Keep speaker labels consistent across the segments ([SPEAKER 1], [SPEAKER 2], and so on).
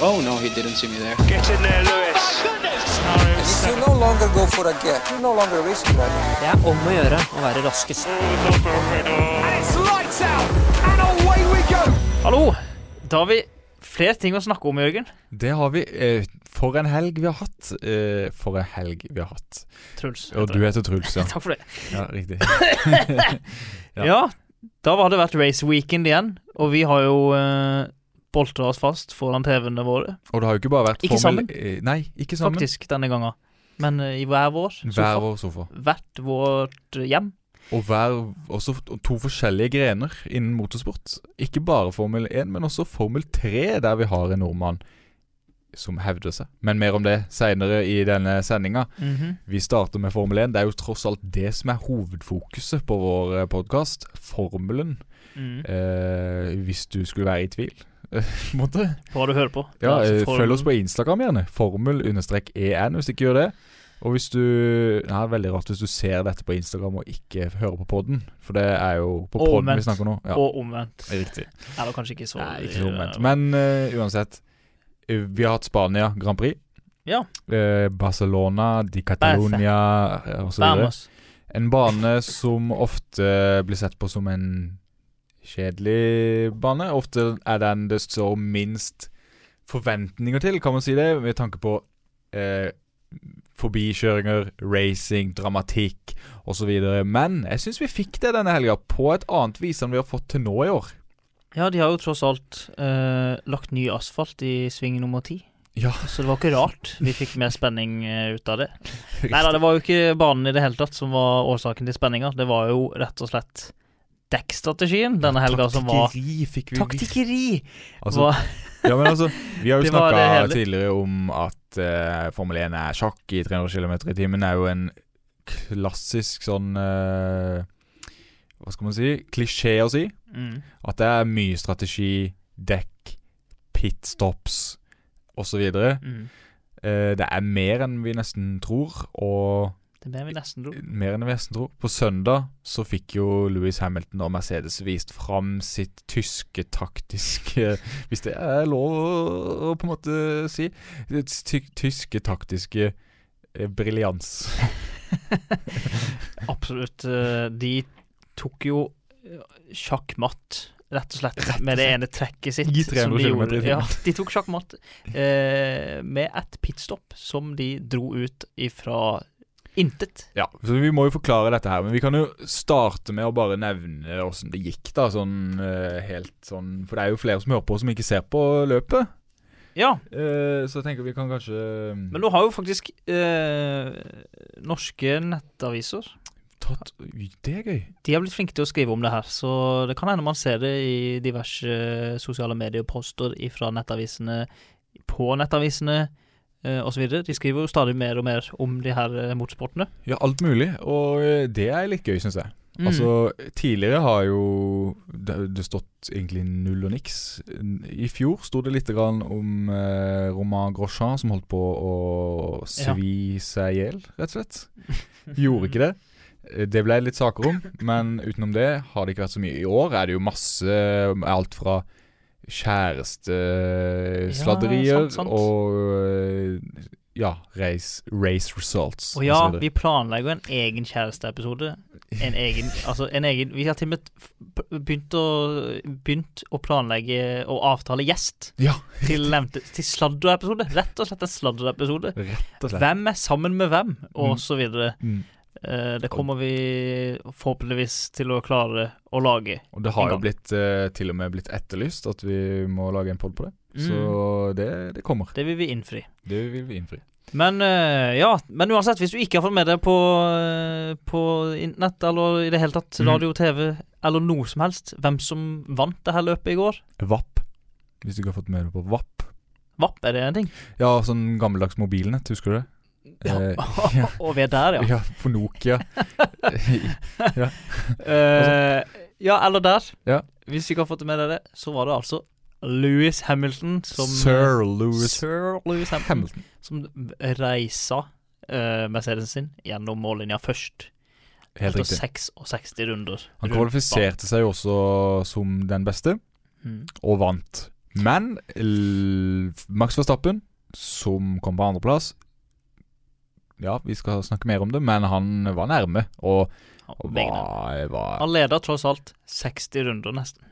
[SPEAKER 1] Oh no, he didn't see me there.
[SPEAKER 2] Get in there, Lewis.
[SPEAKER 3] If you no longer go for a gap, you no longer risk that.
[SPEAKER 4] Det er om å gjøre å være raskest. Hallo! Da har vi flere ting å snakke om, Jørgen.
[SPEAKER 5] Det har vi. eh, For en helg vi har hatt. eh, For en helg vi har hatt.
[SPEAKER 4] Truls.
[SPEAKER 5] Og
[SPEAKER 4] heter
[SPEAKER 5] du
[SPEAKER 4] det.
[SPEAKER 5] heter Truls, ja.
[SPEAKER 4] Takk for det.
[SPEAKER 5] ja riktig. Ja.
[SPEAKER 4] Ja. da har det vært race weekend igjen, og vi har jo eh, boltra oss fast foran TV-ene våre,
[SPEAKER 5] Og det har jo ikke bare vært
[SPEAKER 4] Ikke sammen.
[SPEAKER 5] eh, Nei, ikke sammen.
[SPEAKER 4] faktisk, denne gangen. Men eh, i hver vår sofa.
[SPEAKER 5] Hver vår sofa.
[SPEAKER 4] Hvert vårt eh, hjem.
[SPEAKER 5] Og hver, også f- to forskjellige grener innen motorsport. Ikke bare Formel 1, men også Formel 3, der vi har en nordmann som hevder seg. Men mer om det seinere i denne sendinga. Vi starter med Formel 1. Det er jo tross alt det som er hovedfokuset på vår podkast. Formelen.
[SPEAKER 4] Mm.
[SPEAKER 5] Eh, hvis du skulle være i tvil. på en måte.
[SPEAKER 4] Hva du hører på. Det er
[SPEAKER 5] Ja, eh,
[SPEAKER 4] altså for-
[SPEAKER 5] Følg oss på Instagram gjerne. Formel-en hvis du ikke gjør det. Og hvis du Nei, det er veldig rart hvis du ser dette på Instagram og ikke hører på podden. For det er jo på
[SPEAKER 4] Og
[SPEAKER 5] podden
[SPEAKER 4] omvendt.
[SPEAKER 5] vi snakker nå. Ja,
[SPEAKER 4] Og omvendt.
[SPEAKER 5] riktig.
[SPEAKER 4] Eller kanskje ikke så
[SPEAKER 5] Nei, ikke så omvendt. Men eh, uansett. eh, Vi har hatt Spania Grand Prix.
[SPEAKER 4] Ja.
[SPEAKER 5] Eh, Barcelona, Di Catalonia eh, og så videre.
[SPEAKER 4] Vamos.
[SPEAKER 5] En bane som ofte blir sett på som en kjedelig bane. Ofte er den det står minst forventninger til, kan man si det, med tanke på eh, forbikjøringer, racing, dramatikk osv. Men jeg syns vi fikk det denne helga, på et annet vis enn vi har fått til nå i år.
[SPEAKER 4] Ja, de har jo tross alt eh, lagt ny asfalt i sving nummer ti.
[SPEAKER 5] Ja.
[SPEAKER 4] Så det var ikke rart vi fikk mer spenning eh, ut av det. Nei da, det var jo ikke banen i det hele tatt som var årsaken til spenninga. Det var jo rett og slett dekkstrategien denne helga som var
[SPEAKER 5] Taktikkeri fikk vi
[SPEAKER 4] Taktikkeri!
[SPEAKER 5] Altså,
[SPEAKER 4] var,
[SPEAKER 5] Ja, men altså, Vi har jo
[SPEAKER 4] Det var det
[SPEAKER 5] snakka
[SPEAKER 4] hele.
[SPEAKER 5] tidligere om at eh, Formel 1 er sjakk i 300 km i timen. er jo en klassisk sånn eh, Hva skal man si? Klisjé å si.
[SPEAKER 4] mm,
[SPEAKER 5] At det er mye strategi, dekk, pitstops osv.
[SPEAKER 4] mm.
[SPEAKER 5] Uh, det er mer enn vi nesten tror, og
[SPEAKER 4] Det ble vi nesten dro.
[SPEAKER 5] mer enn vi nesten tror. På søndag så fikk jo Louis Hamilton og Mercedes vist fram sitt tyske taktiske Hvis det er lov å- å på en måte si. sitt Ty tyske taktiske eh, briljans.
[SPEAKER 4] Absolutt. eh, De tok jo eh, sjakkmatt, rett og slett, med det ene trekket sitt.
[SPEAKER 5] I
[SPEAKER 4] som
[SPEAKER 5] 300
[SPEAKER 4] de
[SPEAKER 5] kilometer i
[SPEAKER 4] gjorde.
[SPEAKER 5] timen.
[SPEAKER 4] Ja, de tok sjakkmatt eh, med et pitstop som de dro ut ifra intet.
[SPEAKER 5] Ja, så vi må jo forklare dette her, men vi kan jo starte med å bare nevne åssen det gikk, da. Sånn eh, helt sånn For det er jo flere som hører på som ikke ser på løpet.
[SPEAKER 4] Ja,
[SPEAKER 5] Eh, så jeg tenker vi kan kanskje
[SPEAKER 4] men nå har jo faktisk eh, norske nettaviser
[SPEAKER 5] tatt Ui, Det er gøy.
[SPEAKER 4] De har blitt flinke til å skrive om det her, så det kan hende man ser det i diverse eh, sosiale medieposter fra nettavisene, på nettavisene eh, osv. De skriver jo stadig mer og mer om de her eh, motorsportene.
[SPEAKER 5] Ja, alt mulig, og eh, det er litt gøy, syns jeg.
[SPEAKER 4] Mm.
[SPEAKER 5] Altså, tidligere har jo det, det stått egentlig null og niks. I fjor sto det litt grann om eh, Romain Grosjean som holdt på å svi seg i hjel, rett og slett. Gjorde ikke det. Eh, Det ble litt saker om, men utenom det har det ikke vært så mye. I år er det jo masse alt fra
[SPEAKER 4] Ja,
[SPEAKER 5] kjærestesladerier
[SPEAKER 4] sant, sant.
[SPEAKER 5] og eh, ja, race, race results.
[SPEAKER 4] Og ja,
[SPEAKER 5] og så videre.
[SPEAKER 4] vi planlegger en egen kjæresteepisode. En egen, altså en egen Vi har til og med f- begynt å, begynt å planlegge og avtale gjest
[SPEAKER 5] ja,
[SPEAKER 4] til, nevnte- til sladderepisode. Rett og slett en sladderepisode.
[SPEAKER 5] rett og slett.
[SPEAKER 4] Hvem er sammen med hvem, og
[SPEAKER 5] Mm.
[SPEAKER 4] så videre.
[SPEAKER 5] Mm.
[SPEAKER 4] Eh, Det kommer vi forhåpentligvis til å klare å lage.
[SPEAKER 5] Og det
[SPEAKER 4] En
[SPEAKER 5] har jo
[SPEAKER 4] gang.
[SPEAKER 5] blitt, eh, til og med blitt etterlyst at vi må lage en pod på det.
[SPEAKER 4] Mm.
[SPEAKER 5] Så det, det kommer.
[SPEAKER 4] Det vil vi innfri.
[SPEAKER 5] Det vil vi innfri.
[SPEAKER 4] Men eh, ja, men uansett, hvis du ikke har fått med deg på, eh, på internett eller i det hele tatt
[SPEAKER 5] Mhm.
[SPEAKER 4] radio, TV eller noe som helst, hvem som vant det her løpet i går
[SPEAKER 5] Vapp. Hvis du ikke har fått med deg på Vapp.
[SPEAKER 4] Vapp, er det en ting?
[SPEAKER 5] Ja, sånn gammeldags mobilnett, husker du det? Eh, ja.
[SPEAKER 4] Og vi er der, ja.
[SPEAKER 5] Ja, på Nokia.
[SPEAKER 4] Eh, ja, eller der.
[SPEAKER 5] Ja.
[SPEAKER 4] Hvis du ikke har fått med deg det, så var det altså Louis Hamilton som eh,
[SPEAKER 5] Sir Louis
[SPEAKER 4] Sir Lewis Hamilton.
[SPEAKER 5] Hamilton.
[SPEAKER 4] som reisa eh, Mercedesen sin gjennom mållinja først.
[SPEAKER 5] Helt
[SPEAKER 4] etter
[SPEAKER 5] riktig.
[SPEAKER 4] 66 runder.
[SPEAKER 5] Han
[SPEAKER 4] rundt
[SPEAKER 5] kvalifiserte seg jo også som den beste,
[SPEAKER 4] banen. Mm.
[SPEAKER 5] og vant. Men l- Max Verstappen, som kom på andreplass Ja, vi skal snakke mer om det, men han var nærme. Og, og
[SPEAKER 4] Vegne.
[SPEAKER 5] var, var
[SPEAKER 4] Han leder tross alt 60 runder, nesten.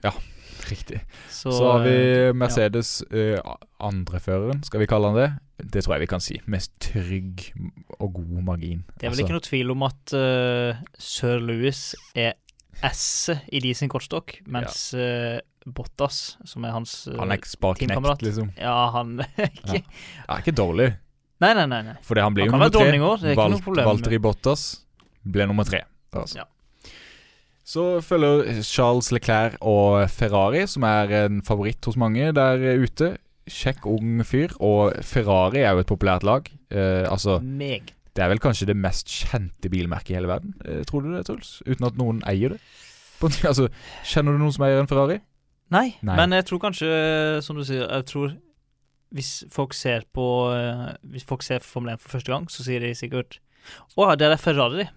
[SPEAKER 5] riktig.
[SPEAKER 4] Så,
[SPEAKER 5] Så har vi
[SPEAKER 4] eh,
[SPEAKER 5] Mercedes eh, andreføreren, skal vi kalle han det. Det tror jeg vi kan si. Mest trygg og god margin. Altså,
[SPEAKER 4] Det er vel ikke noe tvil om at eh, Sir Louis er S-et i de sin kortstokk, mens eh, Bottas, som er hans eh,
[SPEAKER 5] Han er ikke bare
[SPEAKER 4] teamkamerat.
[SPEAKER 5] knekt, liksom.
[SPEAKER 4] Ja, han ikke
[SPEAKER 5] Det er ikke dårlig,
[SPEAKER 4] Nei, nei, nei. nei.
[SPEAKER 5] for han blir
[SPEAKER 4] Han
[SPEAKER 5] jo
[SPEAKER 4] kan
[SPEAKER 5] nummer
[SPEAKER 4] være
[SPEAKER 5] tre.
[SPEAKER 4] dronning òg, det er ikke noe
[SPEAKER 5] Valt-
[SPEAKER 4] problem.
[SPEAKER 5] Valtteri Bottas ble nummer tre. Altså.
[SPEAKER 4] Ja.
[SPEAKER 5] Så følger Charles Leclerc og Ferrari, som er en favoritt hos mange der ute. Kjekk, ung fyr. Og Ferrari er jo et populært lag. Eh, altså,
[SPEAKER 4] Meg.
[SPEAKER 5] Det er vel kanskje det mest kjente bilmerket i hele verden. Eh, tror du det, Truls? Uten at noen eier det? På, altså, Kjenner du noen som eier en Ferrari?
[SPEAKER 4] Nei,
[SPEAKER 5] Nei.
[SPEAKER 4] men jeg tror kanskje, som du sier, jeg tror hvis folk ser på eh, Hvis folk ser Formel 1 for første gang, så sier de sikkert Å, det er Ferrari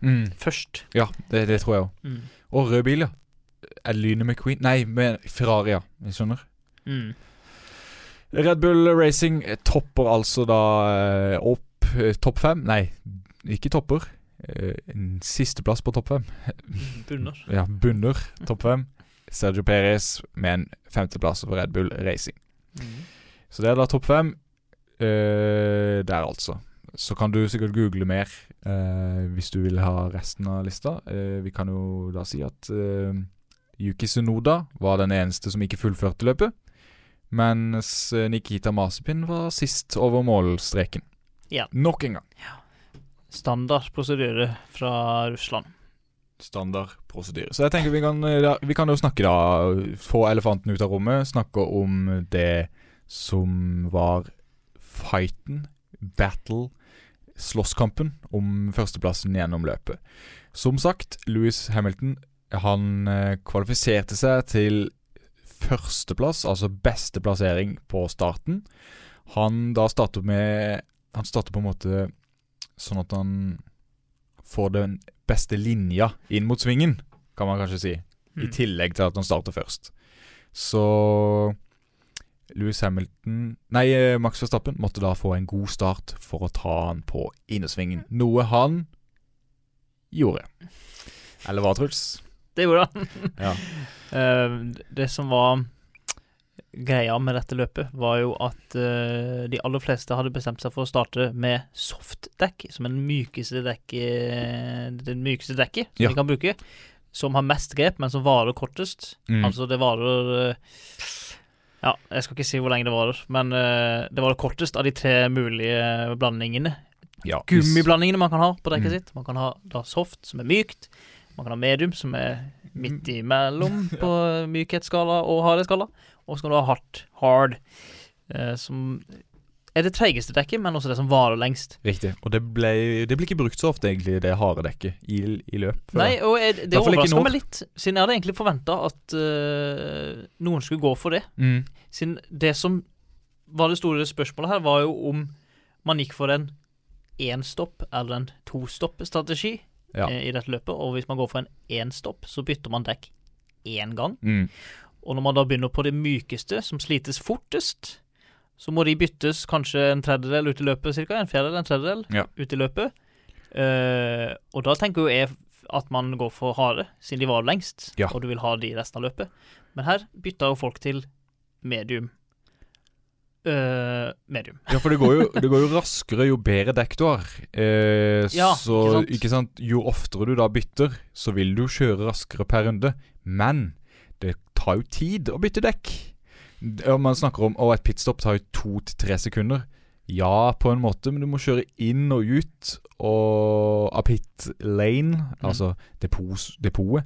[SPEAKER 4] først.
[SPEAKER 5] Mm, Ja, det, det tror jeg òg.
[SPEAKER 4] Mm.
[SPEAKER 5] Og rød bil, ja. Er Lynet McQueen Nei, men Ferrari, ja. Jeg skjønner.
[SPEAKER 4] Mm.
[SPEAKER 5] Red Bull Racing topper altså da eh, opp eh, topp fem. Nei, ikke topper. Eh, en Sisteplass på topp fem.
[SPEAKER 4] Bunner.
[SPEAKER 5] Ja, bunner topp fem. Sergio Perez med en femteplass for Red Bull Racing.
[SPEAKER 4] Mm.
[SPEAKER 5] Så det er da topp fem eh, der, altså. Så kan du sikkert google mer eh, hvis du vil ha resten av lista. Eh, vi kan jo da si at eh, Yuki Sunoda var den eneste som ikke fullførte løpet. Mens eh, Nikita Masipin var sist over målstreken.
[SPEAKER 4] Ja.
[SPEAKER 5] Nok en gang.
[SPEAKER 4] Standard prosedyre fra Russland.
[SPEAKER 5] Standard prosedyre. Så jeg tenker vi kan, eh, da, vi kan jo snakke, da. Få elefanten ut av rommet. Snakke om det som var fighten, battle, slåsskampen om førsteplassen gjennom løpet. Som sagt, Louis Hamilton han eh, kvalifiserte seg til førsteplass, altså beste plassering på starten. Han da starter med Han starter på en måte sånn at han får den beste linja inn mot svingen, kan man kanskje si. I
[SPEAKER 4] Mm.
[SPEAKER 5] tillegg til at han starter først. Så Louis Hamilton Nei, eh, Max Verstappen måtte da få en god start for å ta han på innersvingen. Noe han gjorde. Eller hva, Truls?
[SPEAKER 4] Det gjorde han.
[SPEAKER 5] Ja.
[SPEAKER 4] Eh, det som var greia med dette løpet, var jo at eh, de aller fleste hadde bestemt seg for å starte med softdekk, som er den mykeste dekket Det mykeste dekket som
[SPEAKER 5] Ja.
[SPEAKER 4] de kan bruke. Som har mest grep, men som varer kortest.
[SPEAKER 5] Mm.
[SPEAKER 4] Altså, det varer eh, Ja, jeg skal ikke si hvor lenge det varer, men eh, det varer kortest av de tre mulige blandingene
[SPEAKER 5] Ja, hvis-
[SPEAKER 4] gummiblandingene man kan ha på dekket
[SPEAKER 5] Mm.
[SPEAKER 4] sitt. Man kan ha da soft, som er mykt. Man kan ha medium, som er midt imellom på mykhetsskala og hardhetsskala. Og så kan du ha hardt, hard, eh, som er det treigeste dekket, men også det som varer lengst.
[SPEAKER 5] Riktig. Og det, ble, det blir ikke brukt så ofte, egentlig, det harde dekket i, i løp. føler
[SPEAKER 4] Nei,
[SPEAKER 5] jeg.
[SPEAKER 4] og jeg, det
[SPEAKER 5] Hvert fall ikke
[SPEAKER 4] overrasker
[SPEAKER 5] nå.
[SPEAKER 4] meg litt, siden jeg hadde egentlig forventa at eh, noen skulle gå for det.
[SPEAKER 5] Mm.
[SPEAKER 4] Siden det som var det store spørsmålet her, var jo om man gikk for en én-stopp eller en to-stopp-strategi
[SPEAKER 5] Ja.
[SPEAKER 4] eh, i dette løpet. Og hvis man går for en én-stopp, så bytter man dekk én gang.
[SPEAKER 5] Mm.
[SPEAKER 4] Og når man da begynner på det mykeste, som slites fortest, så må de byttes kanskje en tredjedel ut i løpet, cirka. En fjerdedel, en tredjedel
[SPEAKER 5] Ja.
[SPEAKER 4] ut i løpet. Eh, og da tenker jo jeg at man går for harde, siden de var lengst,
[SPEAKER 5] Ja.
[SPEAKER 4] og du vil ha de resten av løpet. Men her bytter jo folk til medium. Eh, medium.
[SPEAKER 5] Ja, for det går, jo, det går jo raskere jo bedre dekk du har. Eh,
[SPEAKER 4] Ja,
[SPEAKER 5] så
[SPEAKER 4] ikke
[SPEAKER 5] ikke
[SPEAKER 4] sant?
[SPEAKER 5] sant? jo oftere du da bytter, så vil du jo kjøre raskere per runde. Men det tar jo tid å bytte dekk. D- Om man snakker om å, et pitstop tar jo to til tre sekunder. Ja, på en måte, men du må kjøre inn og ut og av pit lane, altså depos, depotet.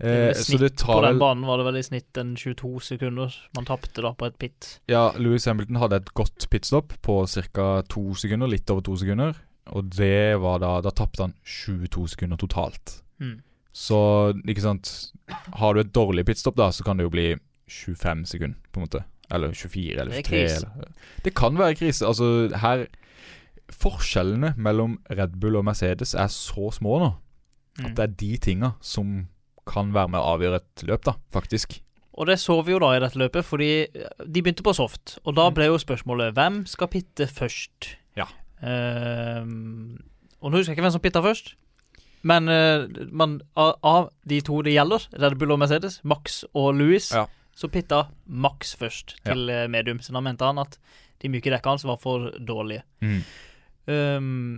[SPEAKER 5] Eh,
[SPEAKER 4] Mm. Det er
[SPEAKER 5] så det
[SPEAKER 4] På
[SPEAKER 5] tar
[SPEAKER 4] den
[SPEAKER 5] vel
[SPEAKER 4] banen var det vel i snitt en 22 sekunder man tapte da på et pit.
[SPEAKER 5] Ja, Louis Hamilton hadde et godt pitstop på ca. to sekunder, litt over to sekunder. Og det var da Da tapte han 22 sekunder totalt.
[SPEAKER 4] Mm.
[SPEAKER 5] Så, ikke sant Har du et dårlig pitstop, da, så kan det jo bli 25 sekunder, på en måte. Eller 24, eller
[SPEAKER 4] Det er
[SPEAKER 5] 23.
[SPEAKER 4] krise.
[SPEAKER 5] Eller. Det kan være krise. Altså, her Forskjellene mellom Red Bull og Mercedes er så små nå.
[SPEAKER 4] Mm.
[SPEAKER 5] Det er de tinga som kan være med å avgjøre et løp, da, faktisk.
[SPEAKER 4] Og det så vi jo da i dette løpet, fordi eh, de begynte på soft. Og da ble jo spørsmålet hvem skal pitte først?
[SPEAKER 5] Mm. Ja.
[SPEAKER 4] Ehm, og nå husker jeg ikke hvem som pitta først, men eh, man, av, av de to det gjelder, Red Bull og Mercedes, Max og Louis,
[SPEAKER 5] Ja.
[SPEAKER 4] så pitta Max først til eh, medium. Så da mente han at de myke dekka hans var for dårlige.
[SPEAKER 5] Mm.
[SPEAKER 4] Ehm,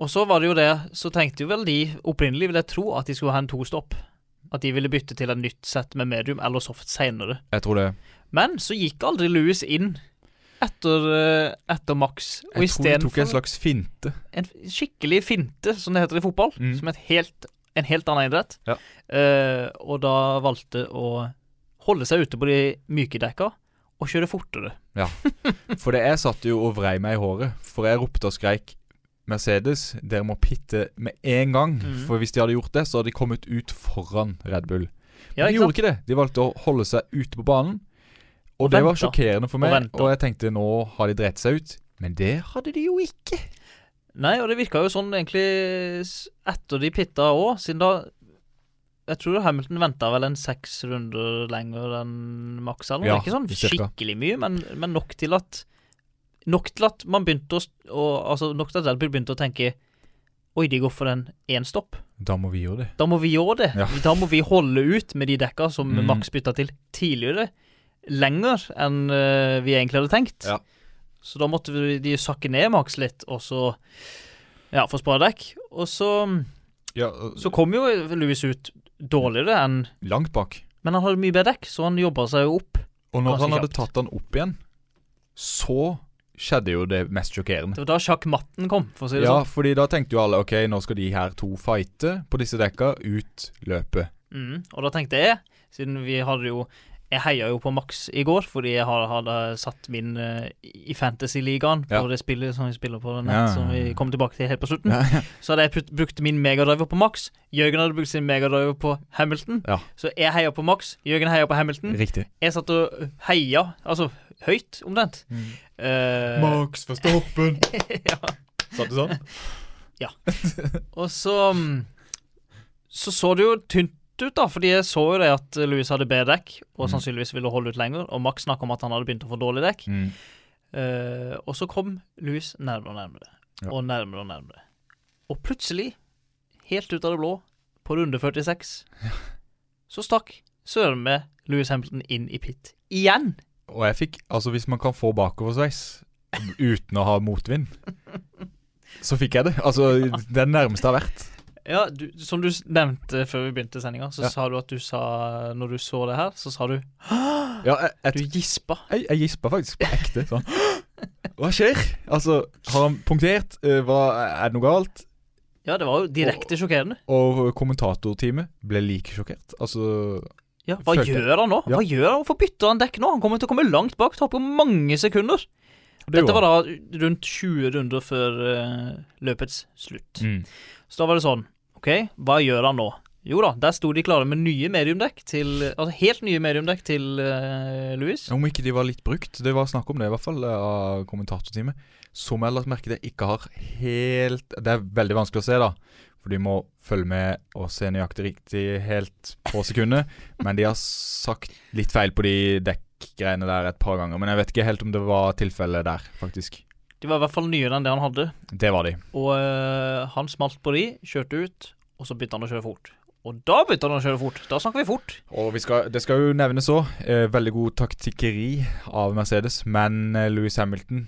[SPEAKER 4] og så var det jo det, så tenkte jo vel de opprinnelig, vil jeg tro, at de skulle ha en to-stopp. At de ville bytte til et nytt sett med medium eller soft seinere.
[SPEAKER 5] Jeg tror det.
[SPEAKER 4] Men så gikk aldri Louis inn etter, eh, etter Max. Og
[SPEAKER 5] Jeg tror de tok en
[SPEAKER 4] istedenfor
[SPEAKER 5] slags finte.
[SPEAKER 4] en skikkelig finte, som det heter i fotball,
[SPEAKER 5] Mm.
[SPEAKER 4] som er et helt, en helt annen idrett,
[SPEAKER 5] Ja.
[SPEAKER 4] Eh, og da valgte å holde seg ute på de myke dekka og kjøre fortere.
[SPEAKER 5] For det jeg satt jo og vrei meg i håret. For jeg ropte og skreik Mercedes, dere må pitte med en gang.
[SPEAKER 4] Mhm.
[SPEAKER 5] For hvis de hadde gjort det, så hadde de kommet ut foran Red Bull.
[SPEAKER 4] Ja, ikke
[SPEAKER 5] Men de gjorde
[SPEAKER 4] sant?
[SPEAKER 5] ikke det. De valgte å holde seg ute på banen. Og,
[SPEAKER 4] Og
[SPEAKER 5] det var
[SPEAKER 4] vente.
[SPEAKER 5] sjokkerende for meg.
[SPEAKER 4] vente.
[SPEAKER 5] Og, jeg tenkte nå har de dreit seg ut. Men det hadde de jo ikke.
[SPEAKER 4] Nei, og det virka jo sånn egentlig s- etter de pitta òg, siden da Jeg tror Hamilton venta vel en seks runder lenger enn Max eller noe.
[SPEAKER 5] Ja,
[SPEAKER 4] ikke sånn
[SPEAKER 5] cirka.
[SPEAKER 4] skikkelig mye, men, men nok til at Nok til at man begynte å, s- å Altså nok til at Red Bull begynte å tenke Oi, de går for en én stopp.
[SPEAKER 5] Da må vi gjøre det.
[SPEAKER 4] Da må vi gjøre det.
[SPEAKER 5] Ja.
[SPEAKER 4] Da må vi holde ut med de dekka som
[SPEAKER 5] Mm.
[SPEAKER 4] Max bytta til tidligere, lenger enn eh, vi egentlig hadde tenkt.
[SPEAKER 5] Ja.
[SPEAKER 4] Så da måtte vi, de sakke ned Max litt, og så Ja, for å spare dekk. Og så, så kom jo Louis ut dårligere enn
[SPEAKER 5] Langt bak.
[SPEAKER 4] Men han hadde mye bedre dekk, så han jobba seg jo opp.
[SPEAKER 5] Og når
[SPEAKER 4] Ganske
[SPEAKER 5] han hadde
[SPEAKER 4] kjapt.
[SPEAKER 5] tatt han opp igjen, så skjedde jo det mest sjokkerende.
[SPEAKER 4] Det var da sjakkmatten kom, for å si det
[SPEAKER 5] Ja,
[SPEAKER 4] sånn.
[SPEAKER 5] fordi da tenkte jo alle ok, nå skal de her to fighte på disse dekka, ut løpet.
[SPEAKER 4] Mm. Og da tenkte jeg, siden vi hadde jo jeg heia jo på Max i går, fordi jeg har- hadde satt min eh, i Fantasy-ligaen på
[SPEAKER 5] Ja.
[SPEAKER 4] det spillet som vi spiller på nett,
[SPEAKER 5] Ja.
[SPEAKER 4] som vi kommer tilbake til helt på slutten.
[SPEAKER 5] Ja,
[SPEAKER 4] Så hadde jeg put- brukt min megadriver på Max. Jørgen hadde brukt sin megadriver på Hamilton.
[SPEAKER 5] Ja.
[SPEAKER 4] Så jeg heia på Max, Jørgen heia på Hamilton.
[SPEAKER 5] Riktig.
[SPEAKER 4] Jeg satt og heia, altså høyt, omtrent.
[SPEAKER 5] Mm.
[SPEAKER 4] Eh,
[SPEAKER 5] Max Verstappen.
[SPEAKER 4] ja.
[SPEAKER 5] Satt det sånn?
[SPEAKER 4] Og så mm, Så så det jo tynt ut, da, fordi jeg så jo det at Louis hadde bedre dekk, og
[SPEAKER 5] Mm.
[SPEAKER 4] sannsynligvis ville holde ut lenger, og Max snakka om at han hadde begynt å få dårlig dekk.
[SPEAKER 5] Mm.
[SPEAKER 4] Eh, og så kom Louis nærmere og nærmere,
[SPEAKER 5] Ja.
[SPEAKER 4] og nærmere og nærmere. Og plutselig, helt ut av det blå, på runde 46, så stakk søren meg Louis Hamilton inn i pit igjen.
[SPEAKER 5] Og jeg fikk Altså, hvis man kan få bakoversveis uten å ha motvind, så fikk jeg det. Altså, det er det nærmeste jeg har vært.
[SPEAKER 4] Ja, du, Som du s- nevnte før vi begynte sendinga, så
[SPEAKER 5] Ja.
[SPEAKER 4] sa du at du sa Når du så det her, så sa du
[SPEAKER 5] Ja, jeg,
[SPEAKER 4] Du
[SPEAKER 5] jeg,
[SPEAKER 4] gispa.
[SPEAKER 5] jeg, jeg gispa faktisk på ekte. Sånn. Hva skjer? Altså, har han punktert? Eh, Hva, er det noe galt?
[SPEAKER 4] Ja, det var jo direkte sjokkerende.
[SPEAKER 5] Og kommentatorteamet ble like sjokkert. Altså
[SPEAKER 4] Ja, Hva
[SPEAKER 5] Følte-
[SPEAKER 4] gjør han nå?
[SPEAKER 5] Ja.
[SPEAKER 4] Hva gjør han? Hvorfor bytter han dekk nå? Han kommer til å komme langt bak. Taper jo mange sekunder.
[SPEAKER 5] det
[SPEAKER 4] Dette
[SPEAKER 5] gjorde
[SPEAKER 4] var da rundt 20 runder før eh, løpets slutt.
[SPEAKER 5] han. Mm.
[SPEAKER 4] Så da var det sånn OK, hva gjør han nå? Jo da, der sto de klare med nye mediumdekk til Altså helt nye mediumdekk til eh, Louis.
[SPEAKER 5] Om ikke de var litt brukt, det var snakk om det i hvert fall eh, av kommentatorteamet. Som jeg har lagt merke til ikke har helt Det er veldig vanskelig å se, da. For de må følge med og se nøyaktig riktig helt på sekundet. Men de har sagt litt feil på de dekkgreiene der et par ganger. Men jeg vet ikke helt om det var tilfellet der, faktisk.
[SPEAKER 4] De var i hvert fall nyere enn det han hadde.
[SPEAKER 5] Det var de.
[SPEAKER 4] Og eh, han smalt på de, kjørte ut, og så begynte han å kjøre fort. Og da begynte han å kjøre fort. Da snakker vi fort.
[SPEAKER 5] Og vi skal, det skal jo nevnes òg, eh, veldig god taktikkeri av Mercedes. Men eh, Louis Hamilton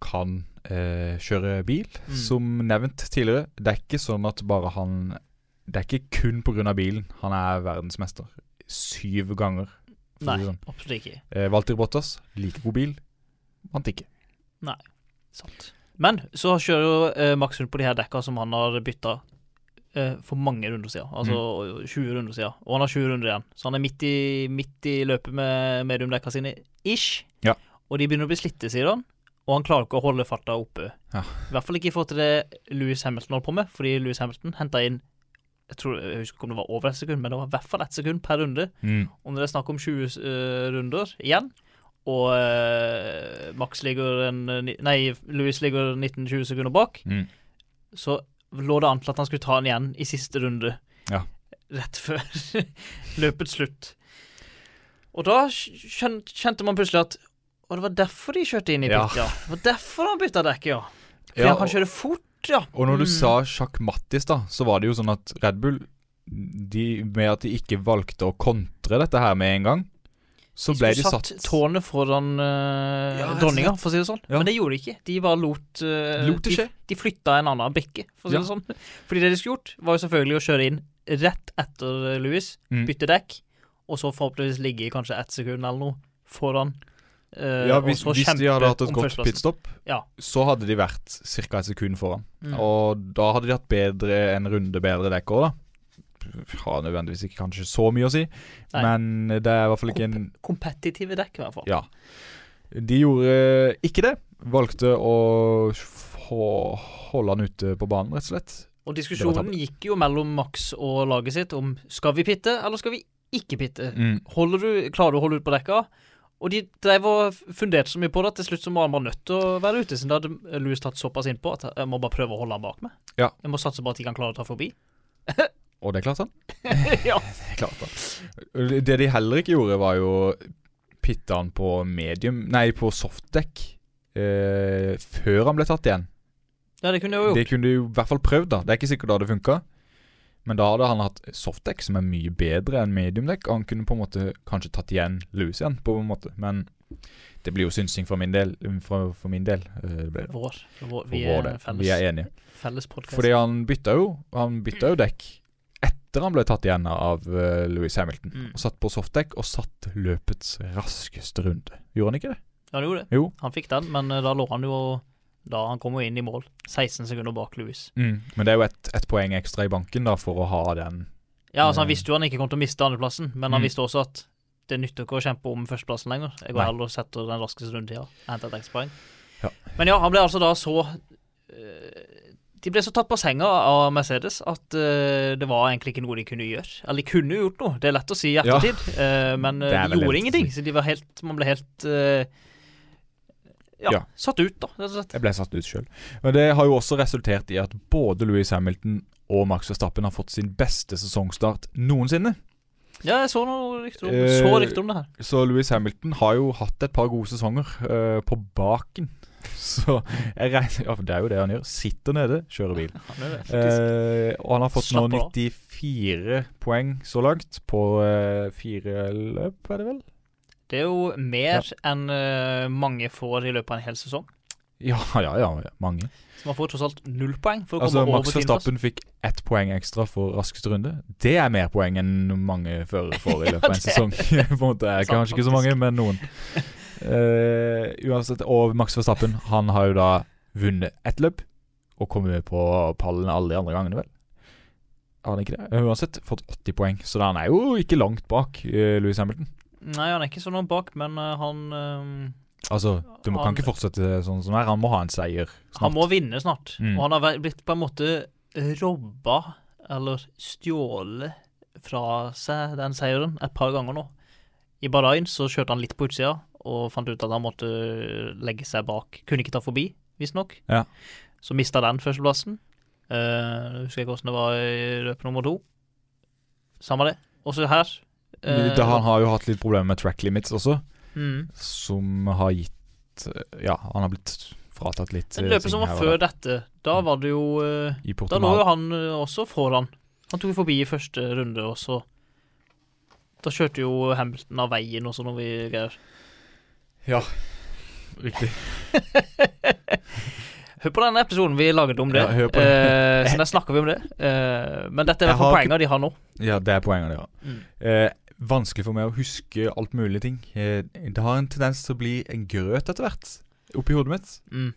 [SPEAKER 5] kan eh, kjøre bil,
[SPEAKER 4] Mm.
[SPEAKER 5] som nevnt tidligere. Det er ikke sånn at bare han Det er ikke kun pga. bilen. Han er verdensmester syv ganger. for å
[SPEAKER 4] Nei,
[SPEAKER 5] si det sånn.
[SPEAKER 4] absolutt ikke.
[SPEAKER 5] Eh, Walter Bottas, like god bil. Vant ikke.
[SPEAKER 4] Sant. Men så kjører jo eh, Max rundt på de her dekka som han har bytta eh, for mange runder siden. Altså
[SPEAKER 5] Mm.
[SPEAKER 4] 20 runder siden. Og han har 20 runder igjen. Så han er midt i, midt i løpet med mediumdekka sine, ish.
[SPEAKER 5] Ja.
[SPEAKER 4] Og de begynner å bli slitte, sier han. Og han klarer ikke å holde farta oppe.
[SPEAKER 5] Ja.
[SPEAKER 4] I hvert fall ikke i forhold til det Louis Hamilton holdt på med, fordi Louis Hamilton henta inn jeg, tror, jeg husker ikke om det var over et sekund, men det var i hvert fall ett sekund per runde. Om det er snakk om 20 s- eh, runder igjen, og eh, Max ligger en, eh, ni- Nei, Louis ligger 19-20 sekunder bak,
[SPEAKER 5] Mm.
[SPEAKER 4] så lå det an til at han skulle ta han igjen i siste runde.
[SPEAKER 5] Ja.
[SPEAKER 4] Rett før løpets slutt. Og da skjøn, kjente man plutselig at Og det var derfor de kjørte inn i
[SPEAKER 5] Ja.
[SPEAKER 4] pikk, ja. Det var derfor han bytta dekk, ja. For
[SPEAKER 5] Ja,
[SPEAKER 4] han kan
[SPEAKER 5] og,
[SPEAKER 4] kjøre fort, ja.
[SPEAKER 5] og når du
[SPEAKER 4] Mm.
[SPEAKER 5] sa sjakk mattis, da, så var det jo sånn at Red Bull de, Med at de ikke valgte å kontre dette her med en gang, så ble de
[SPEAKER 4] skulle
[SPEAKER 5] satt,
[SPEAKER 4] tårnet foran eh,
[SPEAKER 5] Ja, rett og
[SPEAKER 4] dronninga, for å si det sånn.
[SPEAKER 5] Ja.
[SPEAKER 4] Men det gjorde de ikke. De bare lot, eh,
[SPEAKER 5] Lot det
[SPEAKER 4] de,
[SPEAKER 5] skje.
[SPEAKER 4] de flytta en annen brikke, for å si
[SPEAKER 5] Ja.
[SPEAKER 4] det sånn. Fordi det de skulle gjort, var jo selvfølgelig å kjøre inn rett etter eh, Louis,
[SPEAKER 5] Mm.
[SPEAKER 4] bytte dekk, og så forhåpentligvis ligge i kanskje ett sekund eller noe foran. eh,
[SPEAKER 5] Ja,
[SPEAKER 4] og
[SPEAKER 5] hvis,
[SPEAKER 4] så
[SPEAKER 5] hvis
[SPEAKER 4] kjempe
[SPEAKER 5] de hadde hatt et
[SPEAKER 4] om
[SPEAKER 5] godt
[SPEAKER 4] førsteplassen.
[SPEAKER 5] pitstop,
[SPEAKER 4] Ja.
[SPEAKER 5] så hadde de vært ca. et sekund foran.
[SPEAKER 4] Mm.
[SPEAKER 5] Og da hadde de hatt bedre en runde bedre dekk òg, da. Har nødvendigvis ikke kanskje så mye å si,
[SPEAKER 4] Nei.
[SPEAKER 5] men det er i hvert fall ikke en
[SPEAKER 4] Kompetitive dekk, i hvert fall.
[SPEAKER 5] Ja. De gjorde ikke det. Valgte å få- holde han ute på banen, rett og slett.
[SPEAKER 4] Og
[SPEAKER 5] Det var
[SPEAKER 4] diskusjonen gikk jo mellom Max og laget sitt om skal vi pitte, eller skal vi ikke pitte. Holder du, klarer du å holde ut på dekka? Og de drev og funderte så mye på det at til slutt så var han bare nødt til å være ute, siden da hadde Louis tatt såpass innpå at jeg må bare prøve å holde han bak meg.
[SPEAKER 5] Ja.
[SPEAKER 4] Jeg må satse på at de kan klare å ta forbi.
[SPEAKER 5] Og det klarte han.
[SPEAKER 4] ja.
[SPEAKER 5] Det klarte han. Det de heller ikke gjorde, var jo å pitte han på medium Nei, på softdekk eh, før han ble tatt igjen.
[SPEAKER 4] ja, det kunne jeg jo gjort.
[SPEAKER 5] Det kunne du i hvert fall prøvd, da. Det er ikke sikkert det hadde funka. Men da hadde han hatt softdekk, som er mye bedre enn mediumdekk. og Han kunne på en måte kanskje tatt igjen Louis igjen, på en måte. Men det blir jo synsing for min del. For, for min del eh, det ble det.
[SPEAKER 4] Vår. Vår.
[SPEAKER 5] For
[SPEAKER 4] Vi
[SPEAKER 5] vår
[SPEAKER 4] er
[SPEAKER 5] del.
[SPEAKER 4] felles,
[SPEAKER 5] Vi er enige.
[SPEAKER 4] felles podcast.
[SPEAKER 5] Fordi han bytta jo Han bytta jo dekk etter han ble tatt igjen av eh, Louis Hamilton.
[SPEAKER 4] Mm.
[SPEAKER 5] Og satt på softdekk og satt løpets raskeste runde. Gjorde han ikke det?
[SPEAKER 4] Ja, han gjorde det.
[SPEAKER 5] Jo.
[SPEAKER 4] Han fikk den, men eh, da lå han jo da han kom jo inn i mål, 16 sekunder bak Louis.
[SPEAKER 5] Men det er jo ett et poeng ekstra i banken da for å ha den.
[SPEAKER 4] Ja, altså Han
[SPEAKER 5] Eh.
[SPEAKER 4] visste jo han ikke kom til å miste andreplassen, men han
[SPEAKER 5] Mm.
[SPEAKER 4] visste også at det nytter ikke å kjempe om førsteplassen lenger. Jeg går
[SPEAKER 5] Nei.
[SPEAKER 4] heller og setter den raskeste rundetida. Henter et ekstrapoeng.
[SPEAKER 5] Ja.
[SPEAKER 4] Men ja, han ble altså da så eh, De ble så tatt på senga av Mercedes at eh, det var egentlig ikke noe de kunne gjøre. Eller de kunne jo gjort noe, det er lett å si i
[SPEAKER 5] Ja.
[SPEAKER 4] ettertid, eh, men eh,
[SPEAKER 5] Det er
[SPEAKER 4] de
[SPEAKER 5] veldig lett å
[SPEAKER 4] gjorde ingenting.
[SPEAKER 5] si.
[SPEAKER 4] Så de var helt, man ble helt eh, ja,
[SPEAKER 5] Ja.
[SPEAKER 4] satt ut, da, rett og slett.
[SPEAKER 5] Jeg ble satt ut sjøl. Men det har jo også resultert i at både Louis Hamilton og Max Verstappen har fått sin beste sesongstart noensinne.
[SPEAKER 4] Ja, jeg så noe rykter om,
[SPEAKER 5] Eh,
[SPEAKER 4] så rykter om det her.
[SPEAKER 5] Så Louis Hamilton har jo hatt et par gode sesonger eh, på baken. Så jeg regner Ja, for det er jo det han gjør. Sitter nede, kjører bil.
[SPEAKER 4] Han er faktisk-
[SPEAKER 5] Eh, og han har fått nå
[SPEAKER 4] Slapp av.
[SPEAKER 5] 94 poeng så langt på eh, fire løp, er det vel?
[SPEAKER 4] Det er jo mer enn eh, mange får i løpet av en hel sesong.
[SPEAKER 5] Ja, ja, ja. ja, Mange.
[SPEAKER 4] Så man får tross alt null poeng for å
[SPEAKER 5] Altså,
[SPEAKER 4] komme
[SPEAKER 5] Max
[SPEAKER 4] over tiendeplass.
[SPEAKER 5] Verstappen fikk ett poeng ekstra for raskeste runde. Det er mer poeng enn mange førere får i løpet av en
[SPEAKER 4] det er
[SPEAKER 5] sesong. På en måte er
[SPEAKER 4] Sant,
[SPEAKER 5] Kanskje ikke så mange, men noen. Eh, uansett, Og Max Verstappen han har jo da vunnet ett løp og kommet med på pallen alle de andre gangene, vel. Har han ikke det? Eh, Uansett, fått 80 poeng, så han er jo ikke langt bak eh, Louis Hamilton.
[SPEAKER 4] Nei, han er ikke sånn bak, men eh, han eh,
[SPEAKER 5] Altså, du må,
[SPEAKER 4] Han-
[SPEAKER 5] kan ikke fortsette sånn som det er. Han må ha en seier snart.
[SPEAKER 4] Han må vinne snart.
[SPEAKER 5] Mm.
[SPEAKER 4] Og han har vært- blitt på en måte robba, eller stjålet, fra seg den seieren et par ganger nå. I Bahrain så kjørte han litt på utsida, og fant ut at han måtte legge seg bak. Kunne ikke ta forbi, visstnok.
[SPEAKER 5] Ja.
[SPEAKER 4] Så mista den førsteplassen. Eh, husker jeg ikke hvordan det var i løp nummer to. Samme det. Også her. eh,
[SPEAKER 5] Da, han har jo hatt litt problemer med track limits også.
[SPEAKER 4] mm.
[SPEAKER 5] som har gitt eh, Ja, han har blitt fratatt litt
[SPEAKER 4] Den
[SPEAKER 5] eh,
[SPEAKER 4] løpet
[SPEAKER 5] ting
[SPEAKER 4] som
[SPEAKER 5] her Mm.
[SPEAKER 4] var
[SPEAKER 5] og
[SPEAKER 4] før
[SPEAKER 5] der.
[SPEAKER 4] dette, da var det jo eh,
[SPEAKER 5] I
[SPEAKER 4] Da lå jo
[SPEAKER 5] Portugal.
[SPEAKER 4] han eh, også foran. Han tok forbi i første runde, og så Da kjørte jo Hamilton av veien og sånn noe vi greier.
[SPEAKER 5] Riktig.
[SPEAKER 4] Hør på denne episoden vi laget om det,
[SPEAKER 5] Ja, hør på den.
[SPEAKER 4] eh, så der snakker vi om det. Eh, men dette er i
[SPEAKER 5] Jeg
[SPEAKER 4] hvert fall
[SPEAKER 5] har ikke-
[SPEAKER 4] poengene de har nå.
[SPEAKER 5] Ja, det er poenget, ja.
[SPEAKER 4] Mm.
[SPEAKER 5] Eh, vanskelig for meg å huske alt mulig ting. Eh, det har en tendens til å bli en grøt etter hvert oppi hodet mitt.
[SPEAKER 4] Mm.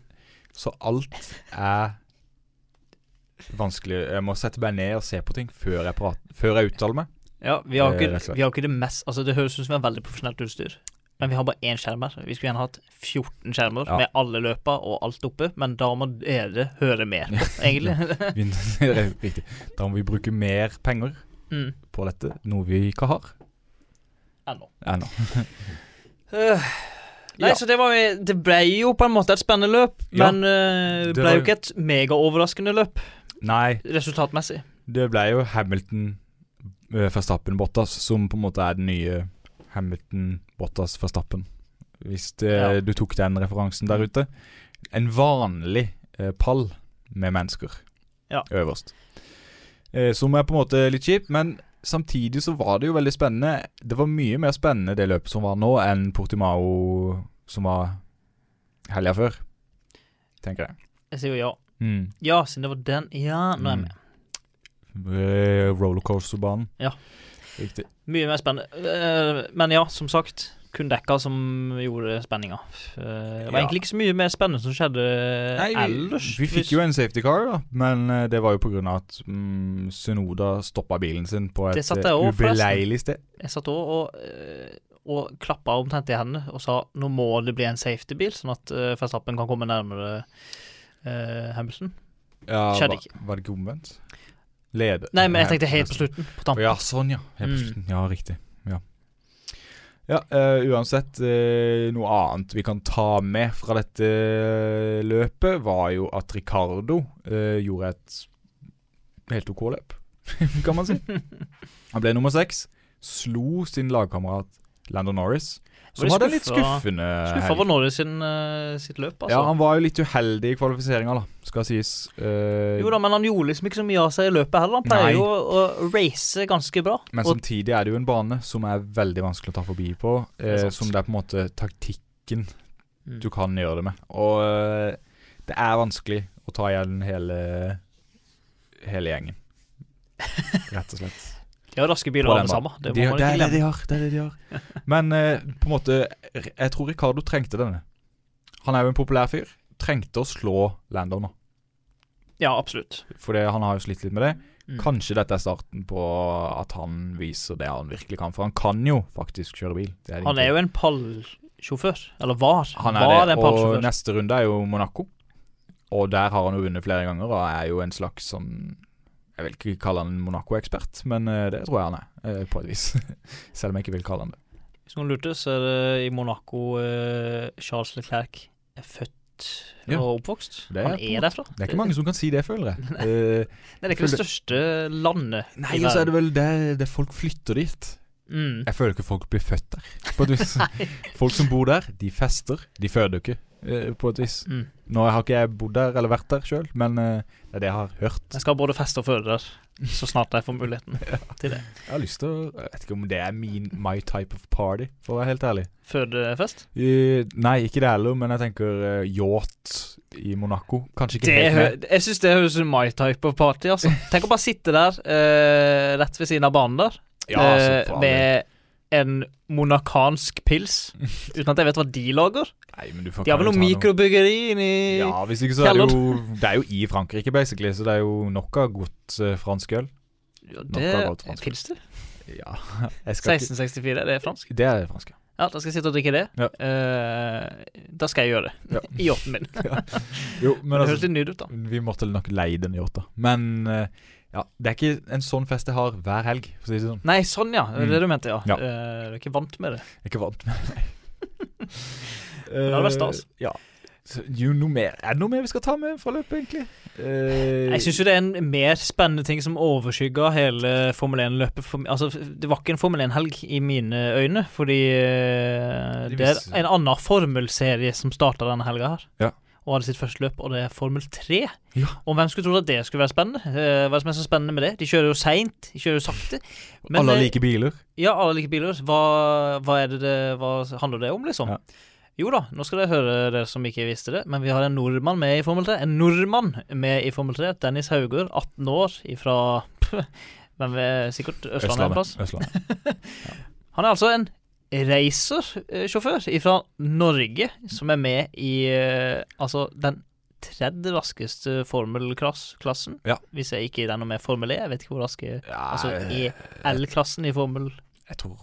[SPEAKER 5] Så alt er vanskelig. Jeg må sette meg ned og se på ting før jeg, prater, før jeg uttaler meg.
[SPEAKER 4] Ja, vi har,
[SPEAKER 5] Eh,
[SPEAKER 4] ikke,
[SPEAKER 5] rett og slett.
[SPEAKER 4] vi har ikke det mest Altså, det høres ut som vi har veldig profesjonelt utstyr, men vi har bare én skjerm her. Vi skulle gjerne hatt 14 skjermer
[SPEAKER 5] Ja.
[SPEAKER 4] med alle løpa og alt oppe, men da må dere høre mer, egentlig.
[SPEAKER 5] Vi- Riktig. Da må vi bruke mer penger
[SPEAKER 4] mm.
[SPEAKER 5] på dette, noe vi ikke har
[SPEAKER 4] Ennå.
[SPEAKER 5] ennå.
[SPEAKER 4] Øh. Nei,
[SPEAKER 5] Ja.
[SPEAKER 4] så det, var, jo- det ble jo på en måte et spennende løp,
[SPEAKER 5] Ja.
[SPEAKER 4] men øh, det
[SPEAKER 5] Det
[SPEAKER 4] ble
[SPEAKER 5] var
[SPEAKER 4] jo ikke et megaoverraskende løp
[SPEAKER 5] Nei,
[SPEAKER 4] resultatmessig.
[SPEAKER 5] Det ble jo Hamilton, eh, Verstappen, Bottas som på en måte er den nye Hamilton, Bottas, Verstappen. Hvis det,
[SPEAKER 4] Ja. Mm.
[SPEAKER 5] du tok den referansen der ute. En vanlig eh, pall med mennesker
[SPEAKER 4] Ja.
[SPEAKER 5] øverst. Eh, som er på en måte litt kjipt, men samtidig så var det jo veldig spennende. Det var mye mer spennende det løpet som var nå, enn Portimao som var helga før, tenker jeg.
[SPEAKER 4] Jeg sier jo ja.
[SPEAKER 5] Mm.
[SPEAKER 4] Ja, siden det var den. Ja, nå er jeg med.
[SPEAKER 5] Eh, Rollercoasterbanen.
[SPEAKER 4] Ja.
[SPEAKER 5] Riktig.
[SPEAKER 4] Mye mer spennende. Eh, Men ja, som sagt. Kun Dekka som gjorde spenninga. Eh, Det var
[SPEAKER 5] Ja.
[SPEAKER 4] egentlig ikke så mye mer spennende som skjedde
[SPEAKER 5] Nei, vi,
[SPEAKER 4] Eh, ellers.
[SPEAKER 5] vi fikk jo en safety car, da, men eh, det var jo pga. at mm, Sunoda stoppa bilen sin på
[SPEAKER 4] Det
[SPEAKER 5] et
[SPEAKER 4] satt jeg
[SPEAKER 5] eh,
[SPEAKER 4] også, forresten.
[SPEAKER 5] ubeleilig sted.
[SPEAKER 4] Jeg satt òg og, eh, og klappa omtrent i hendene og sa nå må det bli en safety-bil, sånn at eh, Verstappen kan komme nærmere eh, Hamilton.
[SPEAKER 5] Ja,
[SPEAKER 4] Skjedde
[SPEAKER 5] va-
[SPEAKER 4] ikke.
[SPEAKER 5] Var det ikke omvendt? Leder
[SPEAKER 4] Nei, men jeg tenkte helt på slutten. På tampen.
[SPEAKER 5] Ja, sånn, ja. Helt på
[SPEAKER 4] Mm.
[SPEAKER 5] slutten. Ja, riktig. Ja, ja eh, uansett eh, Noe annet vi kan ta med fra dette eh, løpet, var jo at Ricardo eh, gjorde et helt OK løp, kan man si. Han ble nummer seks. Slo sin lagkamerat Landon Norris, som
[SPEAKER 4] Var
[SPEAKER 5] hadde
[SPEAKER 4] de
[SPEAKER 5] en litt
[SPEAKER 4] skuffa-
[SPEAKER 5] skuffende
[SPEAKER 4] Skuffa over Norris sin, eh, sitt løp, altså.
[SPEAKER 5] Ja, han var jo litt uheldig i kvalifiseringa, da, skal sies. Eh,
[SPEAKER 4] Jo da, men han gjorde liksom ikke så mye av seg i løpet heller. Han
[SPEAKER 5] Nei.
[SPEAKER 4] pleier jo å å race ganske bra.
[SPEAKER 5] Men
[SPEAKER 4] og,
[SPEAKER 5] samtidig er det jo en bane som er veldig vanskelig å ta forbi på.
[SPEAKER 4] er
[SPEAKER 5] Eh,
[SPEAKER 4] sant.
[SPEAKER 5] som det er på en måte taktikken
[SPEAKER 4] Mm.
[SPEAKER 5] du kan gjøre det med. Og eh, det er vanskelig å ta igjen hele, hele gjengen. Rett og slett.
[SPEAKER 4] de har raske biler
[SPEAKER 5] På den
[SPEAKER 4] alle sammen. Det
[SPEAKER 5] De-
[SPEAKER 4] må man ikke
[SPEAKER 5] er det
[SPEAKER 4] glemme.
[SPEAKER 5] de har. Det er det de har. Men eh, på en måte Jeg tror Ricardo trengte denne. Han er jo en populær fyr. Trengte å slå Landon nå,
[SPEAKER 4] Ja, absolutt.
[SPEAKER 5] Fordi han har jo slitt litt med det.
[SPEAKER 4] Mm.
[SPEAKER 5] Kanskje dette er starten på at han viser det han virkelig kan, for han kan jo faktisk kjøre bil. Det
[SPEAKER 4] Han er jo en pallsjåfør. Eller var.
[SPEAKER 5] han er
[SPEAKER 4] var
[SPEAKER 5] det,
[SPEAKER 4] en
[SPEAKER 5] og
[SPEAKER 4] pallsjåfør.
[SPEAKER 5] neste runde er jo Monaco. Og der har han jo vunnet flere ganger og er jo en slags sånn Jeg vil ikke kalle han en Monaco-ekspert, men eh, det tror jeg han er, eh, på et vis. Selv om jeg ikke vil kalle han det.
[SPEAKER 4] Hvis noen lurte, så er det i Monaco eh, Charles Leclerc er født
[SPEAKER 5] Ja.
[SPEAKER 4] og oppvokst.
[SPEAKER 5] Det er
[SPEAKER 4] han
[SPEAKER 5] på en
[SPEAKER 4] er derfra.
[SPEAKER 5] Det er ikke mange som kan si det, føler jeg. Eh,
[SPEAKER 4] Nei, det er ikke det største landet.
[SPEAKER 5] nei, og så er det vel der, der folk flytter dit.
[SPEAKER 4] Mm.
[SPEAKER 5] Jeg føler ikke folk blir født der, på et vis. folk som bor der, de fester. De føder ikke, eh, på et vis.
[SPEAKER 4] Mm.
[SPEAKER 5] Nå har ikke jeg bodd der eller vært der sjøl, men eh, det er det jeg har hørt.
[SPEAKER 4] Jeg skal både feste og føde der, så snart jeg får muligheten til det.
[SPEAKER 5] Jeg har lyst til å Jeg vet ikke om det er min my type of party, for å være helt ærlig.
[SPEAKER 4] Fødefest?
[SPEAKER 5] Eh, nei, ikke det heller, men jeg tenker eh, yacht i Monaco. Kanskje ikke
[SPEAKER 4] Det
[SPEAKER 5] helt
[SPEAKER 4] hø
[SPEAKER 5] med.
[SPEAKER 4] jeg syns det høres ut som my type of party, altså. Tenk å bare sitte der, eh, rett ved siden av banen der,
[SPEAKER 5] Ja, altså,
[SPEAKER 4] eh,
[SPEAKER 5] for all del.
[SPEAKER 4] med en monakansk pils, uten at jeg vet hva de lager.
[SPEAKER 5] Nei, men du får
[SPEAKER 4] De har
[SPEAKER 5] kan
[SPEAKER 4] vel
[SPEAKER 5] jo
[SPEAKER 4] noe
[SPEAKER 5] ta
[SPEAKER 4] mikrobryggeri inni
[SPEAKER 5] Ja, hvis ikke så er det jo Det er jo i Frankrike, basically, så det er jo nok av godt eh, fransk øl.
[SPEAKER 4] Ja,
[SPEAKER 5] nok
[SPEAKER 4] Det
[SPEAKER 5] har gått fransk.
[SPEAKER 4] Pilster?
[SPEAKER 5] Ja, jeg skal
[SPEAKER 4] 1664, det er fransk?
[SPEAKER 5] ikke Det er det franske.
[SPEAKER 4] Ja, da skal jeg sitte og drikke det.
[SPEAKER 5] Ja.
[SPEAKER 4] Eh, da skal jeg gjøre det.
[SPEAKER 5] Ja.
[SPEAKER 4] I yachten min.
[SPEAKER 5] Jo,
[SPEAKER 4] Men
[SPEAKER 5] men
[SPEAKER 4] det
[SPEAKER 5] altså
[SPEAKER 4] høres litt nyd ut, da.
[SPEAKER 5] Vi måtte nok leie den yacht, da. Men eh, ja, det er ikke en sånn fest jeg har hver helg, for å si det sånn.
[SPEAKER 4] Nei, sånn, ja. Det er det du mente, ja.
[SPEAKER 5] Ja.
[SPEAKER 4] Eh, du er ikke vant med det.
[SPEAKER 5] Jeg er ikke vant med det. Det
[SPEAKER 4] hadde vært stas.
[SPEAKER 5] Ja. Så, jo, noe mer. Er det noe mer vi skal ta med fra løpet, egentlig? Eh,
[SPEAKER 4] Jeg syns jo det er en mer spennende ting som overskygga hele Formel 1-løpet. For, altså, det var ikke en Formel 1-helg i mine øyne, fordi eh,
[SPEAKER 5] De
[SPEAKER 4] det er
[SPEAKER 5] visste-
[SPEAKER 4] en annen formelserie som starta denne helga her.
[SPEAKER 5] Ja.
[SPEAKER 4] Og hadde sitt første løp, og det er Formel 3.
[SPEAKER 5] Ja.
[SPEAKER 4] Og hvem skulle trodd at det skulle være spennende? Eh, hva er det som er så spennende med det? De kjører jo seint, de kjører jo sakte. men,
[SPEAKER 5] Alle har
[SPEAKER 4] eh,
[SPEAKER 5] like biler.
[SPEAKER 4] Ja, alle liker biler. Hva, hva, er det det, hva handler det om, liksom?
[SPEAKER 5] Ja.
[SPEAKER 4] Jo da, nå skal dere høre dere som ikke visste det, men vi har en nordmann med i Formel 3. En nordmann med i Formel 3. Dennis Hauger, 18 år, ifra men sikkert Østlandet en plass.
[SPEAKER 5] Østlandet.
[SPEAKER 4] Han er altså en racersjåfør ifra Norge, som er med i eh, altså den tredje raskeste formelklassen.
[SPEAKER 5] Ja.
[SPEAKER 4] Hvis jeg ikke det er noe med Formel E, jeg vet ikke hvor raske
[SPEAKER 5] Ja,
[SPEAKER 4] Altså
[SPEAKER 5] jeg,
[SPEAKER 4] i L-klassen i Formel
[SPEAKER 5] tror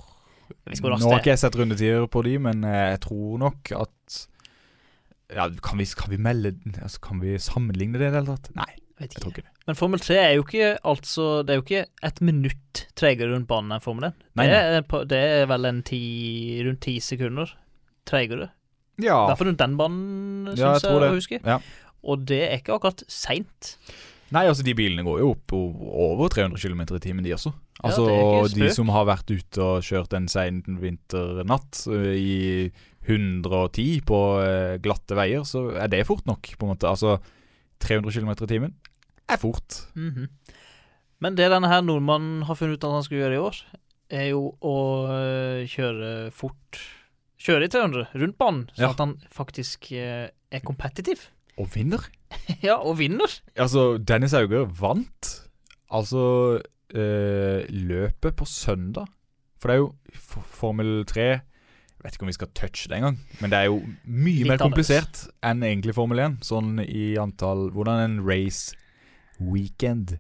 [SPEAKER 4] Jeg vet ikke hvor
[SPEAKER 5] Nå
[SPEAKER 4] raskt
[SPEAKER 5] har
[SPEAKER 4] det er.
[SPEAKER 5] ikke jeg sett rundetider på de, men eh, jeg tror nok at ja, kan, vi, kan vi melde altså, Kan vi sammenligne det i det hele tatt? Nei,
[SPEAKER 4] Jeg Vet
[SPEAKER 5] jeg
[SPEAKER 4] ikke.
[SPEAKER 5] tror ikke det.
[SPEAKER 4] Men Formel 3 er jo ikke altså Det er jo ikke et minutt tregere rundt banen enn Formel 1.
[SPEAKER 5] Nei,
[SPEAKER 4] det,
[SPEAKER 5] nei.
[SPEAKER 4] er, på- det er vel en ti, rundt ti sekunder tregere. I
[SPEAKER 5] Ja.
[SPEAKER 4] hvert fall rundt den banen,
[SPEAKER 5] Ja, jeg
[SPEAKER 4] syns jeg,
[SPEAKER 5] tror det.
[SPEAKER 4] å huske.
[SPEAKER 5] Ja.
[SPEAKER 4] Og det er ikke akkurat seint.
[SPEAKER 5] Nei, altså de bilene går jo opp o- over 300 km i timen, de også. Altså
[SPEAKER 4] det er ikke
[SPEAKER 5] de
[SPEAKER 4] spøk.
[SPEAKER 5] som har vært ute og kjørt en sein vinternatt ø, i 110 på ø, glatte veier, så er det fort nok, på en måte. Altså 300 km i timen er fort.
[SPEAKER 4] Mhm. Men det denne her nordmannen har funnet ut at han skulle gjøre i år, er jo å øh, kjøre fort Kjøre i 300 rundt banen, så
[SPEAKER 5] Ja.
[SPEAKER 4] at han faktisk øh, er kompetitiv.
[SPEAKER 5] Og vinner.
[SPEAKER 4] ja, og vinner.
[SPEAKER 5] Altså, Dennis Hauger vant altså ø, løpet på søndag. For det er jo f- Formel 3 Jeg vet ikke om vi skal touche det engang, men det er jo mye
[SPEAKER 4] Litt
[SPEAKER 5] mer
[SPEAKER 4] annerledes.
[SPEAKER 5] komplisert enn egentlig Formel 1. Sånn i antall Hvordan en race weekend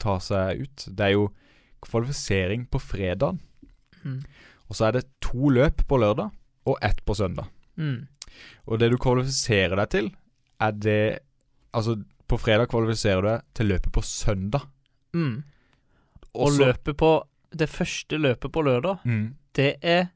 [SPEAKER 5] tar seg ut. Det er jo kvalifisering på fredag,
[SPEAKER 4] Mm.
[SPEAKER 5] og så er det to løp på lørdag og ett på søndag.
[SPEAKER 4] Mm.
[SPEAKER 5] Og det du kvalifiserer deg til, er det Altså, på fredag kvalifiserer du deg til løpet på søndag.
[SPEAKER 4] Mm. Og
[SPEAKER 5] Også-
[SPEAKER 4] løpet på Det første løpet på lørdag,
[SPEAKER 5] Mm,
[SPEAKER 4] det er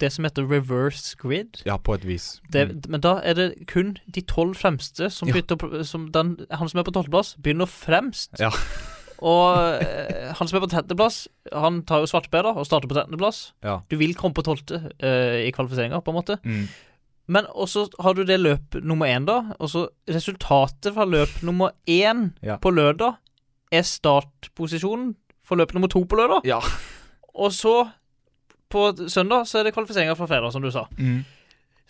[SPEAKER 4] det som heter reverse grid.
[SPEAKER 5] ja, på et vis.
[SPEAKER 4] Det,
[SPEAKER 5] Mm.
[SPEAKER 4] Men da er det kun de tolv fremste som
[SPEAKER 5] Ja.
[SPEAKER 4] bytter som den, Han som er på tolvteplass, begynner fremst.
[SPEAKER 5] Ja.
[SPEAKER 4] og eh, han som er på trettendeplass, han tar jo svartbeder og starter på trettendeplass.
[SPEAKER 5] Ja.
[SPEAKER 4] Du vil komme på tolvte eh, i kvalifiseringa, på en måte.
[SPEAKER 5] Mm.
[SPEAKER 4] Men også har du det løp nummer én, da. Og så resultatet fra løp nummer én
[SPEAKER 5] Ja.
[SPEAKER 4] på lørdag er startposisjonen for løp nummer to på lørdag.
[SPEAKER 5] Ja.
[SPEAKER 4] Og så, på søndag, så er det kvalifiseringa fra fredag, som du sa.
[SPEAKER 5] Mm.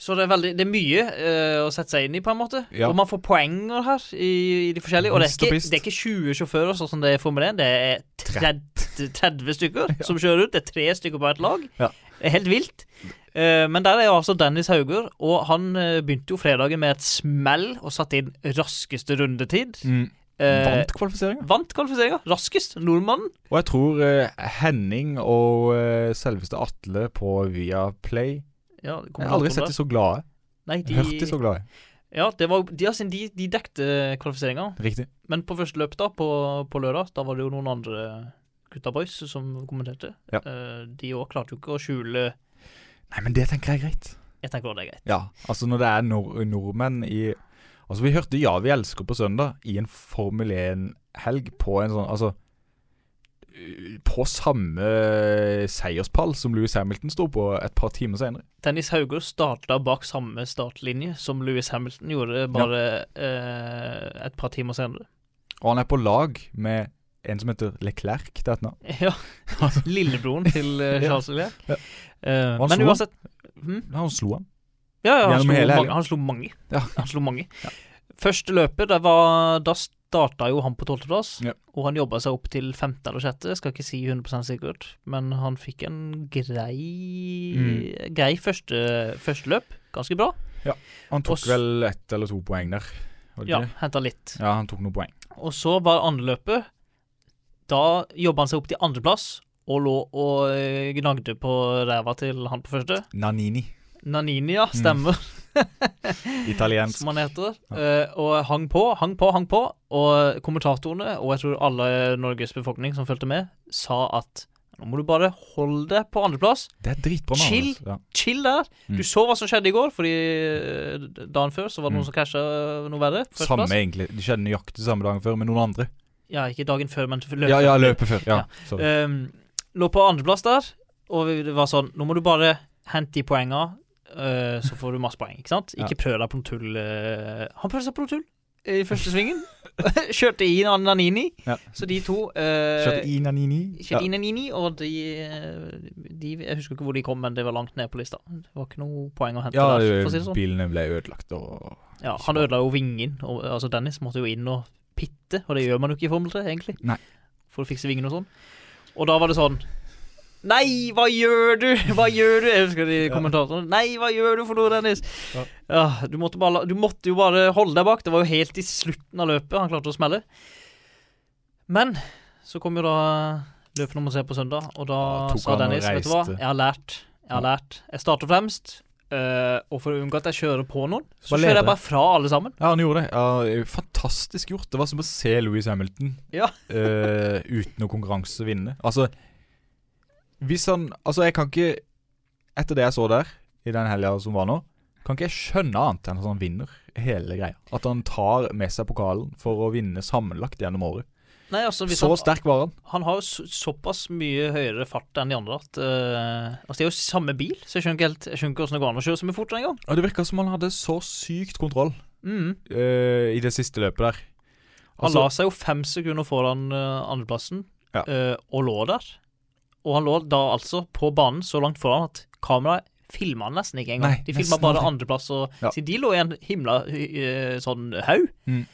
[SPEAKER 4] Så det er, veldig, det er mye eh, å sette seg inn i, på en måte.
[SPEAKER 5] Ja.
[SPEAKER 4] Og man får poenger her i, i de forskjellige. Og det er,
[SPEAKER 5] Hist og
[SPEAKER 4] ikke,
[SPEAKER 5] pist.
[SPEAKER 4] det er ikke 20 sjåfører, sånn som det er i Formel 1. Det er 30, 30 stykker som kjører ut. Det er tre stykker på et lag.
[SPEAKER 5] Ja.
[SPEAKER 4] Det er helt vilt. Eh, men der er jo altså Dennis Hauger, og han eh, begynte jo fredagen med et smell og satte inn raskeste rundetid.
[SPEAKER 5] Mm.
[SPEAKER 4] Eh,
[SPEAKER 5] Vant kvalifiseringa.
[SPEAKER 4] Vant kvalifiseringa. Raskest. Nordmannen.
[SPEAKER 5] Og jeg tror eh, Henning og eh, selveste Atle på Viaplay
[SPEAKER 4] Ja,
[SPEAKER 5] Jeg har aldri sett de så glade.
[SPEAKER 4] Nei, de,
[SPEAKER 5] Hørt de så glade.
[SPEAKER 4] Ja, det var, de, altså, de, de dekte kvalifiseringa.
[SPEAKER 5] Riktig.
[SPEAKER 4] Men på første løp da, på, på lørdag, da var det jo noen andre gutta boys som kommenterte.
[SPEAKER 5] Ja.
[SPEAKER 4] Eh, de òg klarte jo ikke å skjule
[SPEAKER 5] Nei, men det tenker jeg er greit.
[SPEAKER 4] Jeg tenker også det er greit.
[SPEAKER 5] Ja, altså når det er nor nordmenn i Altså Vi hørte 'Ja, vi elsker' på søndag i en Formel 1-helg på en sånn Altså øh, På samme seierspall som Louis Hamilton sto på et par timer senere.
[SPEAKER 4] Dennis Hauger starta bak samme startlinje som Louis Hamilton gjorde bare eh, et par timer senere.
[SPEAKER 5] Og han er på lag med en som heter Leclerc til etternavn.
[SPEAKER 4] Ja. Lillebroren til eh,
[SPEAKER 5] Ja.
[SPEAKER 4] Charles Leclerc.
[SPEAKER 5] Ja.
[SPEAKER 4] Eh,
[SPEAKER 5] Han
[SPEAKER 4] men
[SPEAKER 5] slo han.
[SPEAKER 4] uansett hm?
[SPEAKER 5] Han slo han.
[SPEAKER 4] Ja, ja han,
[SPEAKER 5] Gjennom
[SPEAKER 4] slo
[SPEAKER 5] hele
[SPEAKER 4] mange,
[SPEAKER 5] helgen.
[SPEAKER 4] han slo mange.
[SPEAKER 5] Ja.
[SPEAKER 4] Han slo mange. Første løpet, det var, da starta jo han på tolvteplass,
[SPEAKER 5] Ja.
[SPEAKER 4] og han jobba seg opp til femte eller sjette. Skal ikke si 100 sikkert, men han fikk en grei,
[SPEAKER 5] Mm.
[SPEAKER 4] grei første, første løp. Ganske bra.
[SPEAKER 5] Han tok
[SPEAKER 4] Og s-
[SPEAKER 5] vel ett eller to poeng der. var det
[SPEAKER 4] Ja,
[SPEAKER 5] ikke det?
[SPEAKER 4] Henta litt.
[SPEAKER 5] ja, han tok noen poeng.
[SPEAKER 4] Og så var andre løpet. Da jobba han seg opp til andreplass, og lå og eh, gnagde på ræva til han på første.
[SPEAKER 5] Nanini.
[SPEAKER 4] Naninia stemmer.
[SPEAKER 5] Italiensk.
[SPEAKER 4] som han heter. eh, og hang på, hang på, hang på. Og kommentatorene, og jeg tror alle Norges befolkning som fulgte med, sa at nå må du bare holde deg på andreplass.
[SPEAKER 5] Det er dritbra navn.
[SPEAKER 4] Chill.
[SPEAKER 5] altså. Ja.
[SPEAKER 4] Chill der. Du
[SPEAKER 5] Mm.
[SPEAKER 4] så hva som skjedde i går, fordi eh, dagen før så var det
[SPEAKER 5] Mm.
[SPEAKER 4] noen som casha noe verre.
[SPEAKER 5] Samme,
[SPEAKER 4] Førsteplass.
[SPEAKER 5] egentlig. Det skjedde nøyaktig samme dagen før, med noen andre.
[SPEAKER 4] Ja, ikke dagen før, men løpet.
[SPEAKER 5] Ja, ja, løpet før. Ja,
[SPEAKER 4] Ja.
[SPEAKER 5] sorry.
[SPEAKER 4] Ehm, lå på andreplass der, og vi- det var sånn Nå må du bare hente de poenga, eh, så får du masse poeng, ikke sant?
[SPEAKER 5] Ja.
[SPEAKER 4] Ikke prøv deg på noe tull. eh. han prøvde seg på noe tull i første svingen. Kjørte i en Nanini,
[SPEAKER 5] Ja.
[SPEAKER 4] så de to eh,
[SPEAKER 5] Kjørte i Nanini.
[SPEAKER 4] Kjørte inn en Nini, og de, eh, de Jeg husker ikke hvor de kom, men det var langt ned på lista. Det var ikke noe poeng å hente
[SPEAKER 5] Ja,
[SPEAKER 4] der, for å si det sånn.
[SPEAKER 5] bilene ble ødelagt og
[SPEAKER 4] Ja, han ødela jo vingen. Og, altså Dennis måtte jo inn og pitte, og det gjør man jo ikke i Formel 3, egentlig.
[SPEAKER 5] Nei.
[SPEAKER 4] For å fikse vingen og sånn. Og da var det sånn Nei, hva gjør du?! Hva gjør du?! Jeg husker de
[SPEAKER 5] Ja.
[SPEAKER 4] kommentatorene. Nei, hva gjør du for noe, Dennis?
[SPEAKER 5] Ja.
[SPEAKER 4] Ja, du, måtte bare, la- du måtte jo bare holde deg bak. Det var jo helt i slutten av løpet han klarte å smelle. Men så kom jo da løpet nummer tre på søndag, og da
[SPEAKER 5] Ja, tok
[SPEAKER 4] sa
[SPEAKER 5] han og
[SPEAKER 4] Dennis Vet du hva,
[SPEAKER 5] reiste.
[SPEAKER 4] jeg har lært. Jeg har
[SPEAKER 5] Ja.
[SPEAKER 4] lært. Jeg starter fremst, eh, og for å unngå at jeg kjører på noen, så
[SPEAKER 5] Bare
[SPEAKER 4] kjører
[SPEAKER 5] leder.
[SPEAKER 4] jeg bare fra alle sammen.
[SPEAKER 5] Ja, han gjorde det. Ja, det er jo fantastisk gjort. Det var som å se Louis Hamilton
[SPEAKER 4] Ja.
[SPEAKER 5] eh, uten noe konkurranse vinne. Altså, hvis han Altså, jeg kan ikke Etter det jeg så der, i den helga som var nå, Kan ikke jeg skjønne annet enn at han vinner hele greia. At han tar med seg pokalen for å vinne sammenlagt gjennom året.
[SPEAKER 4] Nei, altså, hvis
[SPEAKER 5] Så
[SPEAKER 4] han,
[SPEAKER 5] sterk var han.
[SPEAKER 4] han har jo så, såpass mye høyere fart enn de andre at eh, Altså, det er jo samme bil, så jeg skjønner ikke helt Jeg skjønner ikke hvordan det går an å kjøre så mye fortere engang.
[SPEAKER 5] Og Det virka som han hadde så sykt kontroll
[SPEAKER 4] Mm.
[SPEAKER 5] eh, i det siste løpet der.
[SPEAKER 4] Han
[SPEAKER 5] Altså,
[SPEAKER 4] la seg jo fem sekunder foran eh, andreplassen,
[SPEAKER 5] Ja.
[SPEAKER 4] eh, og lå der. Og han lå da altså på banen så langt foran at kameraet filma han nesten ikke engang.
[SPEAKER 5] Nei,
[SPEAKER 4] De
[SPEAKER 5] nesten
[SPEAKER 4] filma bare
[SPEAKER 5] aldri.
[SPEAKER 4] andreplass, og
[SPEAKER 5] Ja.
[SPEAKER 4] siden de lå i en himla eh, sånn haug
[SPEAKER 5] Mm.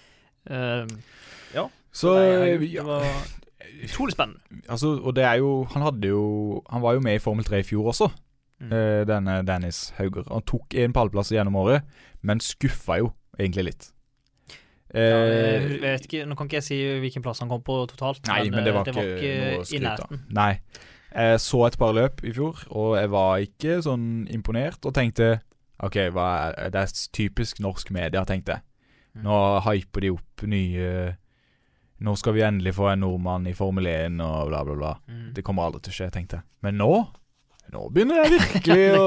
[SPEAKER 4] eh,
[SPEAKER 5] så
[SPEAKER 4] nei, jeg- Det
[SPEAKER 5] ja,
[SPEAKER 4] var utrolig spennende.
[SPEAKER 5] altså, Og det er jo Han hadde jo Han var jo med i Formel 3 i fjor også,
[SPEAKER 4] Mm.
[SPEAKER 5] eh, denne Dennis Hauger. Han tok en pallplass gjennom året, men skuffa jo egentlig litt.
[SPEAKER 4] Ja,
[SPEAKER 5] Eh,
[SPEAKER 4] jeg vet ikke, nå kan ikke jeg si hvilken plass han kom på totalt,
[SPEAKER 5] Nei, men det
[SPEAKER 4] eh,
[SPEAKER 5] var, ikke, noe å
[SPEAKER 4] i
[SPEAKER 5] skryte av.
[SPEAKER 4] nærheten.
[SPEAKER 5] Nei. Jeg så et par løp i fjor, og jeg var ikke sånn imponert og tenkte OK, hva er, det er typisk norsk media, tenkte jeg.
[SPEAKER 4] Mm.
[SPEAKER 5] Nå hyper de opp nye Nå skal vi endelig få en nordmann i Formel 1 og bla, bla, bla.
[SPEAKER 4] Mm.
[SPEAKER 5] Det kommer aldri til å skje, tenkte jeg. Men nå Nå begynner jeg virkelig å,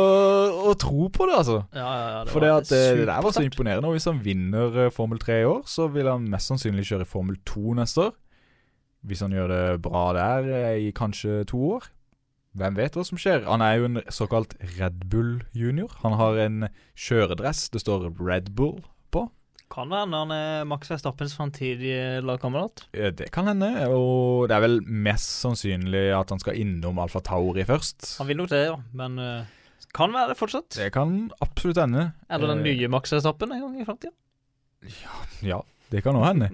[SPEAKER 5] å tro på det, altså.
[SPEAKER 4] Ja, ja, ja,
[SPEAKER 5] For det, at, eh, det der var så
[SPEAKER 4] supersterkt.
[SPEAKER 5] imponerende. Og hvis han vinner eh, Formel 3 i år, så vil han mest sannsynlig kjøre Formel 2 neste år. Hvis han gjør det bra der eh, i kanskje to år. Hvem vet hva som skjer? Han er jo en såkalt Red Bull junior. Han har en kjøredress. Det står Red Bull.
[SPEAKER 4] Kan være han er Max Verstappens framtidige lagkamerat.
[SPEAKER 5] Eh, Det kan hende. Og det er vel mest sannsynlig at han skal innom Alfa Tauri først.
[SPEAKER 4] Han vil nok det, ja, men eh, kan være det fortsatt.
[SPEAKER 5] Det kan absolutt hende.
[SPEAKER 4] Eller den
[SPEAKER 5] Eh,
[SPEAKER 4] nye Max-etappen en gang i framtida.
[SPEAKER 5] Ja, det kan òg hende.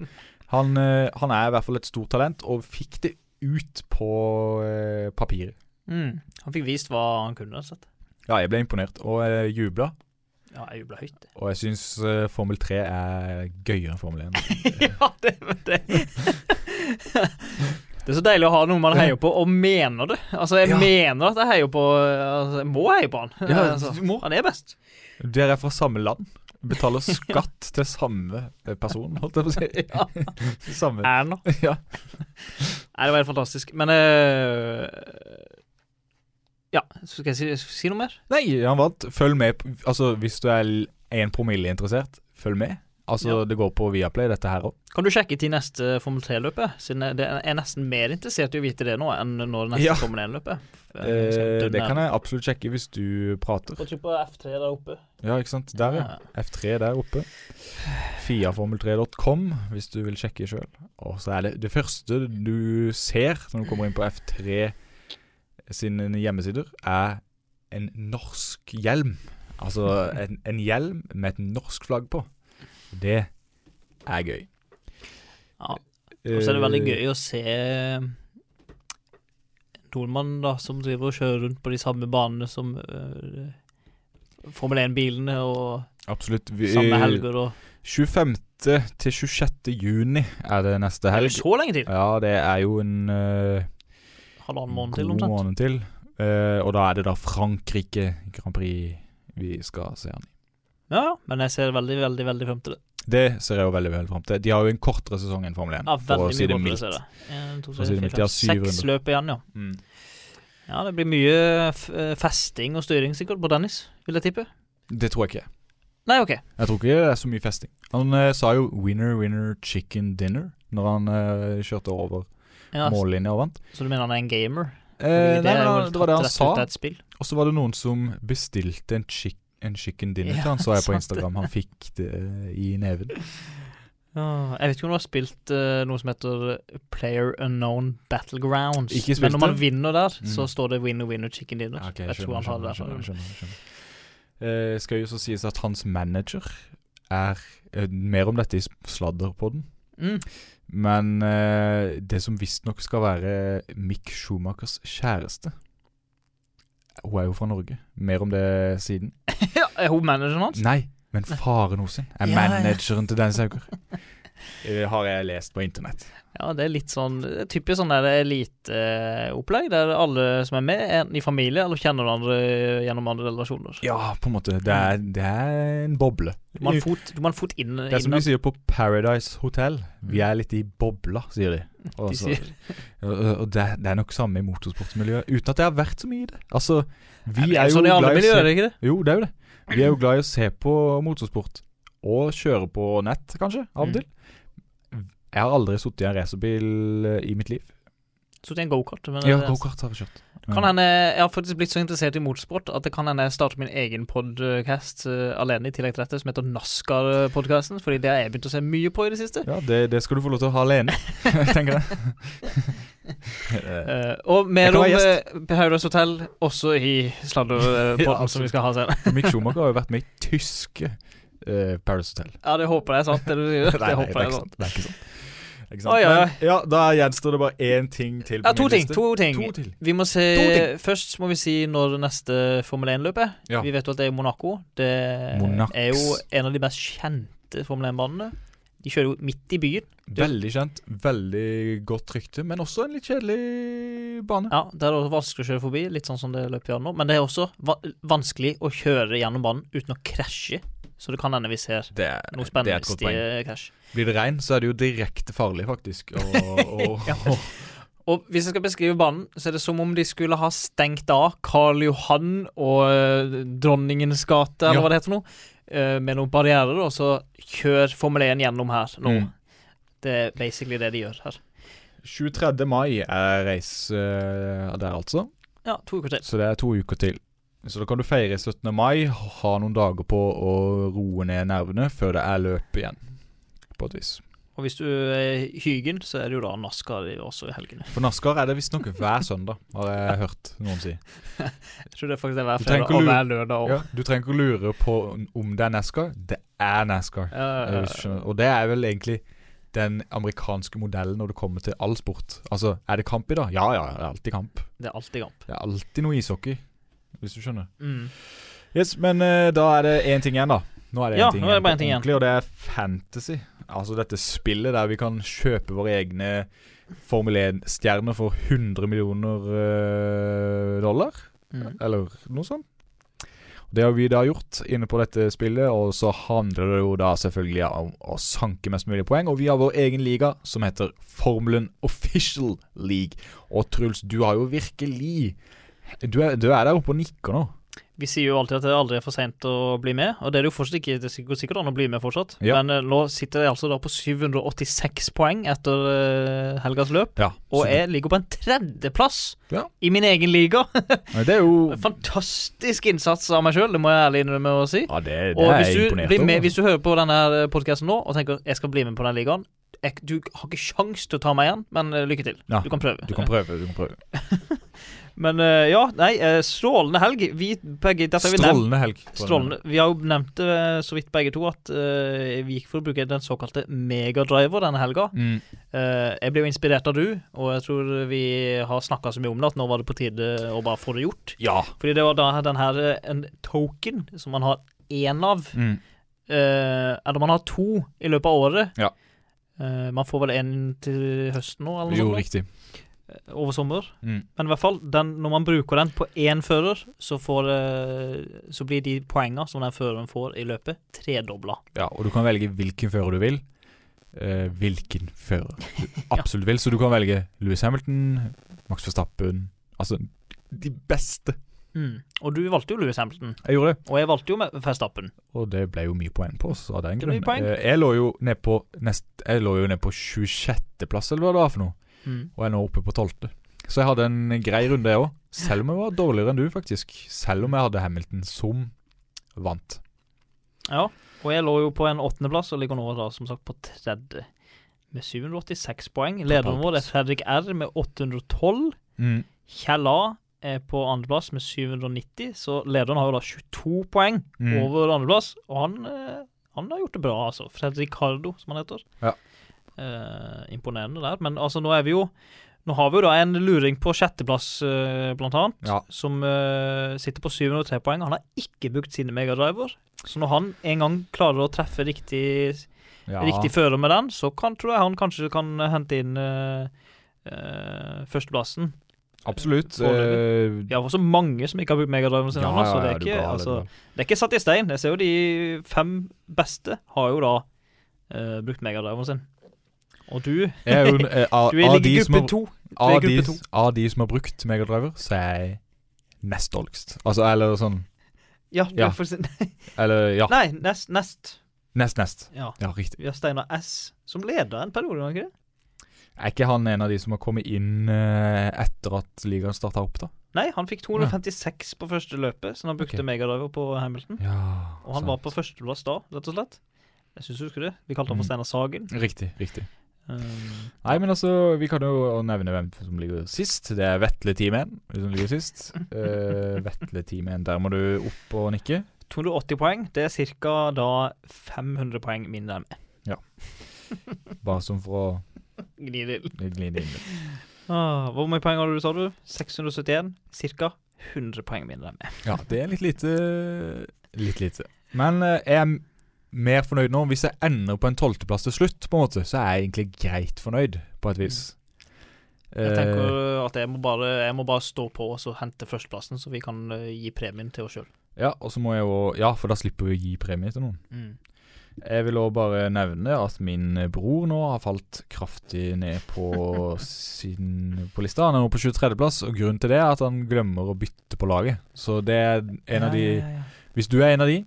[SPEAKER 5] Han, eh, han er i hvert fall et stort talent, og fikk det ut på eh, papiret.
[SPEAKER 4] Mm. Han fikk vist hva han kunne. Sett.
[SPEAKER 5] Ja, jeg ble imponert, og jeg jubla.
[SPEAKER 4] Ja, jeg jubla høyt.
[SPEAKER 5] Og jeg syns eh, Formel 3 er gøyere enn Formel 1.
[SPEAKER 4] ja, det men det Det er så deilig å ha noen man heier på, og mener det. Altså, jeg
[SPEAKER 5] Ja.
[SPEAKER 4] mener at jeg heier på altså, Jeg må heie på han. altså,
[SPEAKER 5] du må.
[SPEAKER 4] han er best.
[SPEAKER 5] Dere er fra samme land. Betaler skatt til samme eh, person, holdt jeg på å si.
[SPEAKER 4] Ja.
[SPEAKER 5] Samme.
[SPEAKER 4] Erna.
[SPEAKER 5] Ja.
[SPEAKER 4] Nei, det var helt fantastisk. Men eh, Ja, så skal jeg si, si noe mer?
[SPEAKER 5] Nei, han vant. Følg med. på- Altså, hvis du er én promille interessert, følg med. Altså,
[SPEAKER 4] Ja.
[SPEAKER 5] det går på Viaplay, dette her òg.
[SPEAKER 4] Kan du sjekke til neste Formel 3-løpet? Siden jeg det- jeg er nesten mer interessert i å vite det nå enn når det neste
[SPEAKER 5] Ja. Eh,
[SPEAKER 4] Formel 1-løpet.
[SPEAKER 5] det
[SPEAKER 4] eh,
[SPEAKER 5] kan jeg absolutt sjekke hvis du prater.
[SPEAKER 4] Trykk på F3 der oppe.
[SPEAKER 5] Ja, ikke sant. Der, ja. F3 der oppe. Fiaformel3.com hvis du vil sjekke sjøl. Og så er det det første du ser når du kommer inn på F3 sine hjemmesider, er en norsk hjelm. Altså en, en hjelm med et norsk flagg på. Det er gøy.
[SPEAKER 4] Ja. Og så er det veldig gøy å se eh, nordmann da, som driver og kjører rundt på de samme banene som øh, Formel 1-bilene og
[SPEAKER 5] Eh, Absolutt. Vi,
[SPEAKER 4] samme helger og
[SPEAKER 5] 25. til 26. juni er det neste
[SPEAKER 4] Det er jo
[SPEAKER 5] helg.
[SPEAKER 4] Så lenge til!
[SPEAKER 5] Ja, det er jo en eh,
[SPEAKER 4] Halvannen måned til,
[SPEAKER 5] God
[SPEAKER 4] omtrent.
[SPEAKER 5] måned til. Eh, og da er det da Frankrike Grand Prix vi skal se han i.
[SPEAKER 4] Ja, ja, men jeg ser veldig, veldig veldig frem til det.
[SPEAKER 5] Det ser jeg jo veldig vel fram til. De har jo en kortere sesong enn Formel 1,
[SPEAKER 4] Ja, veldig mye godt å se det. En, to,
[SPEAKER 5] For å
[SPEAKER 4] tre,
[SPEAKER 5] si det
[SPEAKER 4] fire,
[SPEAKER 5] mildt, de har
[SPEAKER 4] fem, Seks
[SPEAKER 5] syv
[SPEAKER 4] løp igjen, ja.
[SPEAKER 5] Mm.
[SPEAKER 4] Ja, det blir mye f eh, festing og styring sikkert på Dennis, vil jeg tippe.
[SPEAKER 5] Det tror jeg ikke.
[SPEAKER 4] Nei, OK.
[SPEAKER 5] Jeg tror ikke det er så mye festing. Han eh, sa jo 'winner, winner, chicken dinner' når han eh, kjørte over
[SPEAKER 4] Ja,
[SPEAKER 5] mållinja og vant.
[SPEAKER 4] så du mener han er en gamer?
[SPEAKER 5] Eh,
[SPEAKER 4] Fordi
[SPEAKER 5] nei,
[SPEAKER 4] er vel
[SPEAKER 5] men han, det
[SPEAKER 4] tatt
[SPEAKER 5] var det han
[SPEAKER 4] rett
[SPEAKER 5] sa.
[SPEAKER 4] ut av et spill.
[SPEAKER 5] Og så var det noen som bestilte en, chick, en chicken dinner
[SPEAKER 4] Ja,
[SPEAKER 5] til han, så jeg på
[SPEAKER 4] sant det.
[SPEAKER 5] Instagram. Han fikk det i neven.
[SPEAKER 4] Ja, jeg vet ikke om du har spilt eh, noe som heter Player Unknown Battlegrounds.
[SPEAKER 5] Ikke spilt
[SPEAKER 4] men når man
[SPEAKER 5] det.
[SPEAKER 4] vinner der, så
[SPEAKER 5] Mm.
[SPEAKER 4] står det 'winner, winner, chicken dinner'.
[SPEAKER 5] Ja, ok,
[SPEAKER 4] jeg tror han har det
[SPEAKER 5] skjønner,
[SPEAKER 4] der.
[SPEAKER 5] skjønner, skjønner. Eh, skal jo så sies at hans manager er eh, Mer om dette i Sladderpodden.
[SPEAKER 4] Mm.
[SPEAKER 5] Men eh, det som visstnok skal være Mick Schumachers kjæreste Hun er jo fra Norge. Mer om det siden.
[SPEAKER 4] ja, er hun manageren hans?
[SPEAKER 5] Nei, men faren hennes er
[SPEAKER 4] Ja, ja.
[SPEAKER 5] manageren til Dennis Hauger. Eh, har jeg lest på internett.
[SPEAKER 4] Ja, det er litt sånn det er typisk sånn der eliteopplegg, der alle som er med, enten i familie eller kjenner hverandre gjennom andre relasjoner.
[SPEAKER 5] Ja, på en måte. Det er, det er en boble.
[SPEAKER 4] Du må ha en fot, du må ha en fot inn,
[SPEAKER 5] Det er som
[SPEAKER 4] innom. Mm.
[SPEAKER 5] de sier på Paradise Hotel. Vi er litt i bobla, sier de.
[SPEAKER 4] De
[SPEAKER 5] Og, altså-
[SPEAKER 4] sier.
[SPEAKER 5] og og det, er- det er nok samme i motorsportmiljøet, uten at jeg har vært så mye i det. Altså, vi
[SPEAKER 4] Nei, det
[SPEAKER 5] er jo
[SPEAKER 4] sånn i alle
[SPEAKER 5] glad i å
[SPEAKER 4] miljøer,
[SPEAKER 5] se-
[SPEAKER 4] ikke det?
[SPEAKER 5] Jo, det er jo det. Vi er jo glad i å se på motorsport, og kjøre på nett, kanskje, av
[SPEAKER 4] Mm.
[SPEAKER 5] og til. Jeg har aldri sittet i en racerbil eh, i mitt liv.
[SPEAKER 4] Så det er en gokart. men
[SPEAKER 5] Ja,
[SPEAKER 4] det-
[SPEAKER 5] gokart har jeg kjørt.
[SPEAKER 4] Kan hende, jeg har faktisk blitt så interessert i motorsport at det kan hende jeg starter min egen podcast eh, alene i tillegg til dette, som heter NASCAR-podkasten. Fordi det har jeg begynt å se mye på i det siste.
[SPEAKER 5] Ja, det, det skal du få lov til å ha alene, tenker jeg. Eh,
[SPEAKER 4] Eh, og mer
[SPEAKER 5] Jeg kan
[SPEAKER 4] om
[SPEAKER 5] være
[SPEAKER 4] eh, Paradise Hotel også i sladderpodden
[SPEAKER 5] Ja,
[SPEAKER 4] som vi skal ha senere.
[SPEAKER 5] Mick Schumacher har jo vært med i tyske eh, Paris Hotel.
[SPEAKER 4] Ja, det håper jeg er sant. Det, du sier. det håper jeg er sant.
[SPEAKER 5] Det er ikke sant. Det er ikke sant.
[SPEAKER 4] Oi, oi, oi.
[SPEAKER 5] Men, ja, da gjenstår det bare én ting til. på
[SPEAKER 4] Ja, to
[SPEAKER 5] min
[SPEAKER 4] ting.
[SPEAKER 5] liste.
[SPEAKER 4] To ting.
[SPEAKER 5] To til.
[SPEAKER 4] Vi må se
[SPEAKER 5] To ting.
[SPEAKER 4] Først må vi si når neste Formel 1-løp er.
[SPEAKER 5] Ja.
[SPEAKER 4] Vi vet jo at det er i Monaco. Det
[SPEAKER 5] Monax.
[SPEAKER 4] er jo en av de mest kjente Formel 1-banene. De kjører jo midt i byen.
[SPEAKER 5] Veldig kjent, veldig godt rykte, men også en litt kjedelig bane.
[SPEAKER 4] Ja, Det er det også vanskelig å kjøre forbi, litt sånn som det løpet vi har nå. Men det er også va vanskelig å kjøre gjennom banen uten å krasje. Så det kan hende vi ser
[SPEAKER 5] Det, er-
[SPEAKER 4] noe
[SPEAKER 5] det er
[SPEAKER 4] spennende
[SPEAKER 5] et godt poeng.
[SPEAKER 4] stige krasj.
[SPEAKER 5] Blir det regn, så er det jo direkte farlig, faktisk. Og, og,
[SPEAKER 4] Og hvis jeg skal beskrive banen, så er det som om de skulle ha stengt av Karl Johan og eh, Dronningens gate, eller
[SPEAKER 5] Ja.
[SPEAKER 4] hva det heter for noe, eh, med noen barrierer, og så kjør Formel 1 gjennom her nå.
[SPEAKER 5] Mm.
[SPEAKER 4] Det er basically det de gjør her.
[SPEAKER 5] 23. mai er race eh, der, altså.
[SPEAKER 4] Ja, to uker til.
[SPEAKER 5] Så det er to uker til. Så da kan du feire 17. mai, ha noen dager på å roe ned nervene før det er løp igjen. På et vis.
[SPEAKER 4] Og hvis du er Hygen, så er det jo da NASCAR i- også i helgene.
[SPEAKER 5] For NASCAR er det visstnok hver søndag, har jeg hørt noen si.
[SPEAKER 4] Jeg tror det faktisk er hver
[SPEAKER 5] Du
[SPEAKER 4] fredag
[SPEAKER 5] trenger ikke
[SPEAKER 4] og
[SPEAKER 5] lure-
[SPEAKER 4] hver lørdag òg.
[SPEAKER 5] Ja, du trenger ikke å lure på om det er NASCAR. Det er NASCAR.
[SPEAKER 4] Ja,
[SPEAKER 5] Jeg skjønner. Og det er vel egentlig den amerikanske modellen når det kommer til all sport. Altså, er det kamp i dag? Ja, ja, det er alltid kamp.
[SPEAKER 4] det er alltid kamp.
[SPEAKER 5] Det er alltid noe ishockey, hvis du skjønner.
[SPEAKER 4] Mm.
[SPEAKER 5] Yes, men eh, da er det én ting igjen, da. Nå er det én
[SPEAKER 4] Ja,
[SPEAKER 5] ting,
[SPEAKER 4] nå er det bare
[SPEAKER 5] på
[SPEAKER 4] en ting igjen.
[SPEAKER 5] ordentlig, Og det er fantasy. Altså dette spillet der vi kan kjøpe våre egne Formel 1-stjerner for 100 millioner eh, dollar,
[SPEAKER 4] Mm.
[SPEAKER 5] eller noe sånt. Det har vi da gjort inne på dette spillet, og så handler det jo da selvfølgelig om å sanke mest mulig poeng. Og vi har vår egen liga som heter Formelen Official League. Og Truls, du har jo virkelig Du er, du er der oppe og nikker nå.
[SPEAKER 4] Vi sier jo alltid at det aldri er for seint å bli med, og det er det jo fortsatt ikke. Det går sikkert an å bli med fortsatt,
[SPEAKER 5] Ja.
[SPEAKER 4] men eh, nå sitter jeg altså da på 786 poeng etter eh, helgas løp,
[SPEAKER 5] Ja,
[SPEAKER 4] og
[SPEAKER 5] så-
[SPEAKER 4] jeg ligger på en tredjeplass
[SPEAKER 5] Ja.
[SPEAKER 4] i min egen liga.
[SPEAKER 5] Nei, Det er jo
[SPEAKER 4] Fantastisk innsats av meg sjøl, det må jeg ærlig innrømme å si.
[SPEAKER 5] Ja, det, det
[SPEAKER 4] Og
[SPEAKER 5] er
[SPEAKER 4] hvis
[SPEAKER 5] jeg
[SPEAKER 4] du,
[SPEAKER 5] imponert
[SPEAKER 4] blir med,
[SPEAKER 5] over.
[SPEAKER 4] hvis du hører på denne podkasten nå og tenker jeg skal bli med på den ligaen jeg, Du har ikke sjans til å ta meg igjen, men eh, lykke til.
[SPEAKER 5] Ja,
[SPEAKER 4] Du kan prøve.
[SPEAKER 5] Du kan prøve. du kan prøve
[SPEAKER 4] Men eh, ja, nei, eh, strålende helg. Vi begge dette har vi nevnt.
[SPEAKER 5] Strålende helg.
[SPEAKER 4] Strålende. Vi har jo nevnt det eh, så vidt begge to, at eh, vi gikk for å bruke den såkalte megadriver denne helga.
[SPEAKER 5] Mm.
[SPEAKER 4] Eh, jeg ble jo inspirert av du, og jeg tror vi har snakka så mye om det at nå var det på tide å bare få det gjort.
[SPEAKER 5] Ja.
[SPEAKER 4] Fordi det var da den her eh, en token som man har én av,
[SPEAKER 5] Mm.
[SPEAKER 4] eh, eller man har to i løpet av året.
[SPEAKER 5] Ja.
[SPEAKER 4] Eh, man får vel én til høsten nå, eller
[SPEAKER 5] Jo,
[SPEAKER 4] noe sånt?
[SPEAKER 5] riktig.
[SPEAKER 4] nå, Over sommer.
[SPEAKER 5] Mm.
[SPEAKER 4] Men i hvert fall, den, når man bruker den på én fører, så, får, eh, så blir de poengene som den føreren får i løpet, tredobla.
[SPEAKER 5] Ja, Og du kan velge hvilken fører du vil. Eh, hvilken fører du absolutt vil. Så du kan velge Louis Hamilton, Max Verstappen Altså de beste.
[SPEAKER 4] Mm. Og du valgte jo Lewis Hamilton,
[SPEAKER 5] Jeg gjorde det.
[SPEAKER 4] og jeg valgte jo med Verstappen.
[SPEAKER 5] Og det ble jo mye poeng på oss av den
[SPEAKER 4] Det ble mye
[SPEAKER 5] grunn.
[SPEAKER 4] poeng.
[SPEAKER 5] Eh, jeg lå jo ned på nest, Jeg lå jo ned på 26.-plass, eller hva det var for noe.
[SPEAKER 4] Mm.
[SPEAKER 5] og jeg er nå oppe på tolvte. Så jeg hadde en grei runde, jeg òg. Selv om jeg var dårligere enn du, faktisk. Selv om jeg hadde Hamilton som vant.
[SPEAKER 4] Ja, og jeg lå jo på en åttendeplass og ligger nå da som sagt på tredje. Med 786 poeng. Lederen vår er Fredrik R med 812. Kjell A er på andreplass med 790, så lederen har jo da 22 poeng
[SPEAKER 5] Mm.
[SPEAKER 4] over andreplass. Og han, eh, han har gjort det bra, altså. Fredrik Cardo, som han heter.
[SPEAKER 5] Ja.
[SPEAKER 4] Eh, imponerende der. Men altså, nå er vi jo Nå har vi jo da en luring på sjetteplass, eh, blant annet,
[SPEAKER 5] Ja.
[SPEAKER 4] som eh, sitter på 703 poeng. Han har ikke brukt sine megadriver. Så når han en gang klarer å treffe riktig,
[SPEAKER 5] Ja.
[SPEAKER 4] riktig fører med den, så kan, tror jeg han kanskje kan hente inn eh, eh, førsteplassen.
[SPEAKER 5] Absolutt.
[SPEAKER 4] Foreløpig.
[SPEAKER 5] Eh,
[SPEAKER 4] Vi har også mange som ikke har brukt megadriven sin ennå, så det er,
[SPEAKER 5] du
[SPEAKER 4] ikke,
[SPEAKER 5] gal, er du
[SPEAKER 4] altså,
[SPEAKER 5] gal.
[SPEAKER 4] det er ikke satt i stein. Jeg ser jo de fem beste har jo da eh, brukt megadriven sin. Og du,
[SPEAKER 5] Jeg er jo, en- eh, av,
[SPEAKER 4] du er
[SPEAKER 5] av,
[SPEAKER 4] ligger
[SPEAKER 5] de
[SPEAKER 4] i
[SPEAKER 5] som har,
[SPEAKER 4] gruppe to.
[SPEAKER 5] av,
[SPEAKER 4] gruppe
[SPEAKER 5] de,
[SPEAKER 4] to.
[SPEAKER 5] av de som har brukt megadriver, så er jeg nest dårligst. Altså, eller sånn
[SPEAKER 4] Ja,
[SPEAKER 5] Ja. Ah.
[SPEAKER 4] for å si-
[SPEAKER 5] Eller ja,
[SPEAKER 4] Nei, nest, nest.
[SPEAKER 5] nest nest.
[SPEAKER 4] Ja.
[SPEAKER 5] Ja, riktig.
[SPEAKER 4] Vi har Steinar S som leder en periode, var han ikke det?
[SPEAKER 5] Er ikke han en av de som har kommet inn eh, etter at ligaen starta opp, da?
[SPEAKER 4] Nei, han fikk 256 på første løpet, som han brukte
[SPEAKER 5] Ok.
[SPEAKER 4] megadriver på Hamilton.
[SPEAKER 5] Ja,
[SPEAKER 4] Og han var på førsteplass da, rett og slett. Jeg syns du husker det. Vi kalte han for
[SPEAKER 5] Mm.
[SPEAKER 4] Steinar Sagen.
[SPEAKER 5] Riktig. riktig.
[SPEAKER 4] Um,
[SPEAKER 5] Nei, men altså, vi kan jo nevne hvem som ligger sist. Det er Vetle Timen som ligger sist. Eh, Vetle Timen, der må du opp og nikke.
[SPEAKER 4] 280 poeng, det er ca. da 500 poeng mindre enn meg.
[SPEAKER 5] Bare som for
[SPEAKER 4] Gni det inn.
[SPEAKER 5] å gni det inn.
[SPEAKER 4] Ah, hvor mange poeng hadde du, sa du? 671. Ca. 100 poeng mindre enn meg.
[SPEAKER 5] Ja, det er litt lite. Litt lite. Men eh, jeg er mer fornøyd nå. Hvis jeg ender på en tolvteplass til slutt, på en måte, så er jeg egentlig greit fornøyd, på et vis.
[SPEAKER 4] Jeg
[SPEAKER 5] Eh,
[SPEAKER 4] tenker at jeg må bare, jeg må bare stå på og så hente førsteplassen, så vi kan eh, gi premien til oss sjøl.
[SPEAKER 5] ja, og så må jeg jo Ja, for da slipper vi å gi premie til noen. Jeg vil òg bare nevne at min bror nå har falt kraftig ned på, sin, på lista. Han er nå på 23.-plass, og grunnen til det er at han glemmer å bytte på laget. Så det er en av de Hvis du er en av de,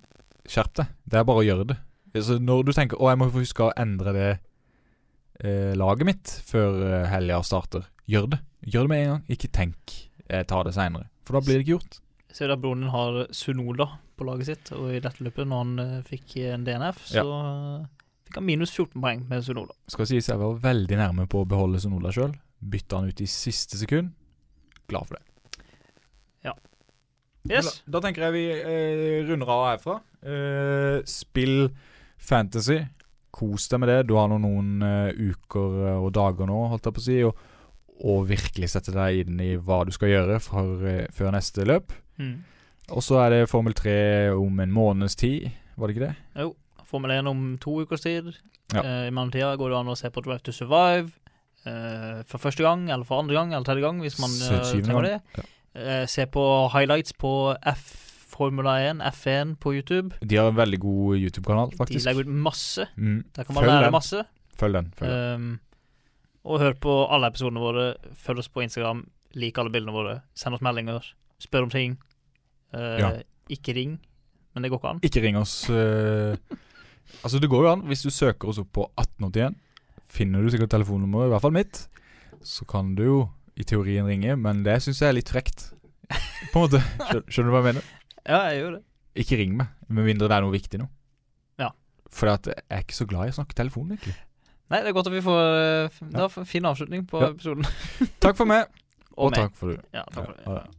[SPEAKER 5] skjerp deg. Det er bare å gjøre det. Altså, når du tenker 'Å, jeg må få huske å endre det eh, laget mitt før eh, helga starter', gjør det. Gjør det med en gang. Ikke tenk 'jeg tar det seinere', for da blir det ikke gjort.
[SPEAKER 4] Ser du at broren din har Sunoda på laget sitt, og i dette løpet, når han eh, fikk en DNF, så eh, fikk han minus 14 poeng med Sunoda.
[SPEAKER 5] Skal sies jeg var veldig nærme på å beholde Sonola sjøl. Bytte han ut i siste sekund. Glad for det.
[SPEAKER 4] Yes.
[SPEAKER 5] Da, da tenker jeg vi eh, runder av herfra. Eh, spill fantasy. Kos deg med det. Du har nå noen eh, uker eh, og dager nå, holdt jeg på å si, og, og virkelig sette deg inn i hva du skal gjøre for, eh, før neste løp.
[SPEAKER 4] Mm.
[SPEAKER 5] Og så er det Formel 3 om en måneds tid, var det ikke det?
[SPEAKER 4] Jo, Formel 1 om to ukers tid.
[SPEAKER 5] Ja.
[SPEAKER 4] Eh, I mellomtida går det an å se på Drive to Survive. eh, for første gang, eller for andre gang, eller tredje gang, hvis man eh,
[SPEAKER 5] Syvende
[SPEAKER 4] trenger det.
[SPEAKER 5] gang,
[SPEAKER 4] Eh, se på highlights på F Formula 1, F1 på YouTube.
[SPEAKER 5] De har en veldig god YouTube-kanal,
[SPEAKER 4] De
[SPEAKER 5] faktisk.
[SPEAKER 4] legger ut masse.
[SPEAKER 5] Mm.
[SPEAKER 4] Der kan man
[SPEAKER 5] Følg
[SPEAKER 4] lære
[SPEAKER 5] den.
[SPEAKER 4] masse.
[SPEAKER 5] Følg den. Følg den.
[SPEAKER 4] Um, og hør på alle episodene våre. Følg oss på Instagram. Lik alle bildene våre. Send oss meldinger. Spør om ting. Eh,
[SPEAKER 5] Ja.
[SPEAKER 4] Ikke ring, men det går ikke an.
[SPEAKER 5] Ikke ring oss. eh, altså, det går jo an. Hvis du søker oss opp på 1881, finner du sikkert telefonnummeret, i hvert fall mitt. Så kan du jo i teorien ringe, men det syns jeg er litt frekt. På en måte. Skjø- Skjønner du hva jeg mener?
[SPEAKER 4] Ja, jeg gjør det.
[SPEAKER 5] Ikke ring meg, med mindre det er noe viktig nå.
[SPEAKER 4] Ja.
[SPEAKER 5] For at jeg er ikke så glad i å snakke telefon, egentlig.
[SPEAKER 4] Nei, det er godt at vi får eh, f-
[SPEAKER 5] Ja.
[SPEAKER 4] da, f- fin avslutning på
[SPEAKER 5] Ja.
[SPEAKER 4] episoden.
[SPEAKER 5] Takk for meg, og
[SPEAKER 4] meg.
[SPEAKER 5] takk for du.
[SPEAKER 4] Ja, takk for det.
[SPEAKER 5] Ja, ha det.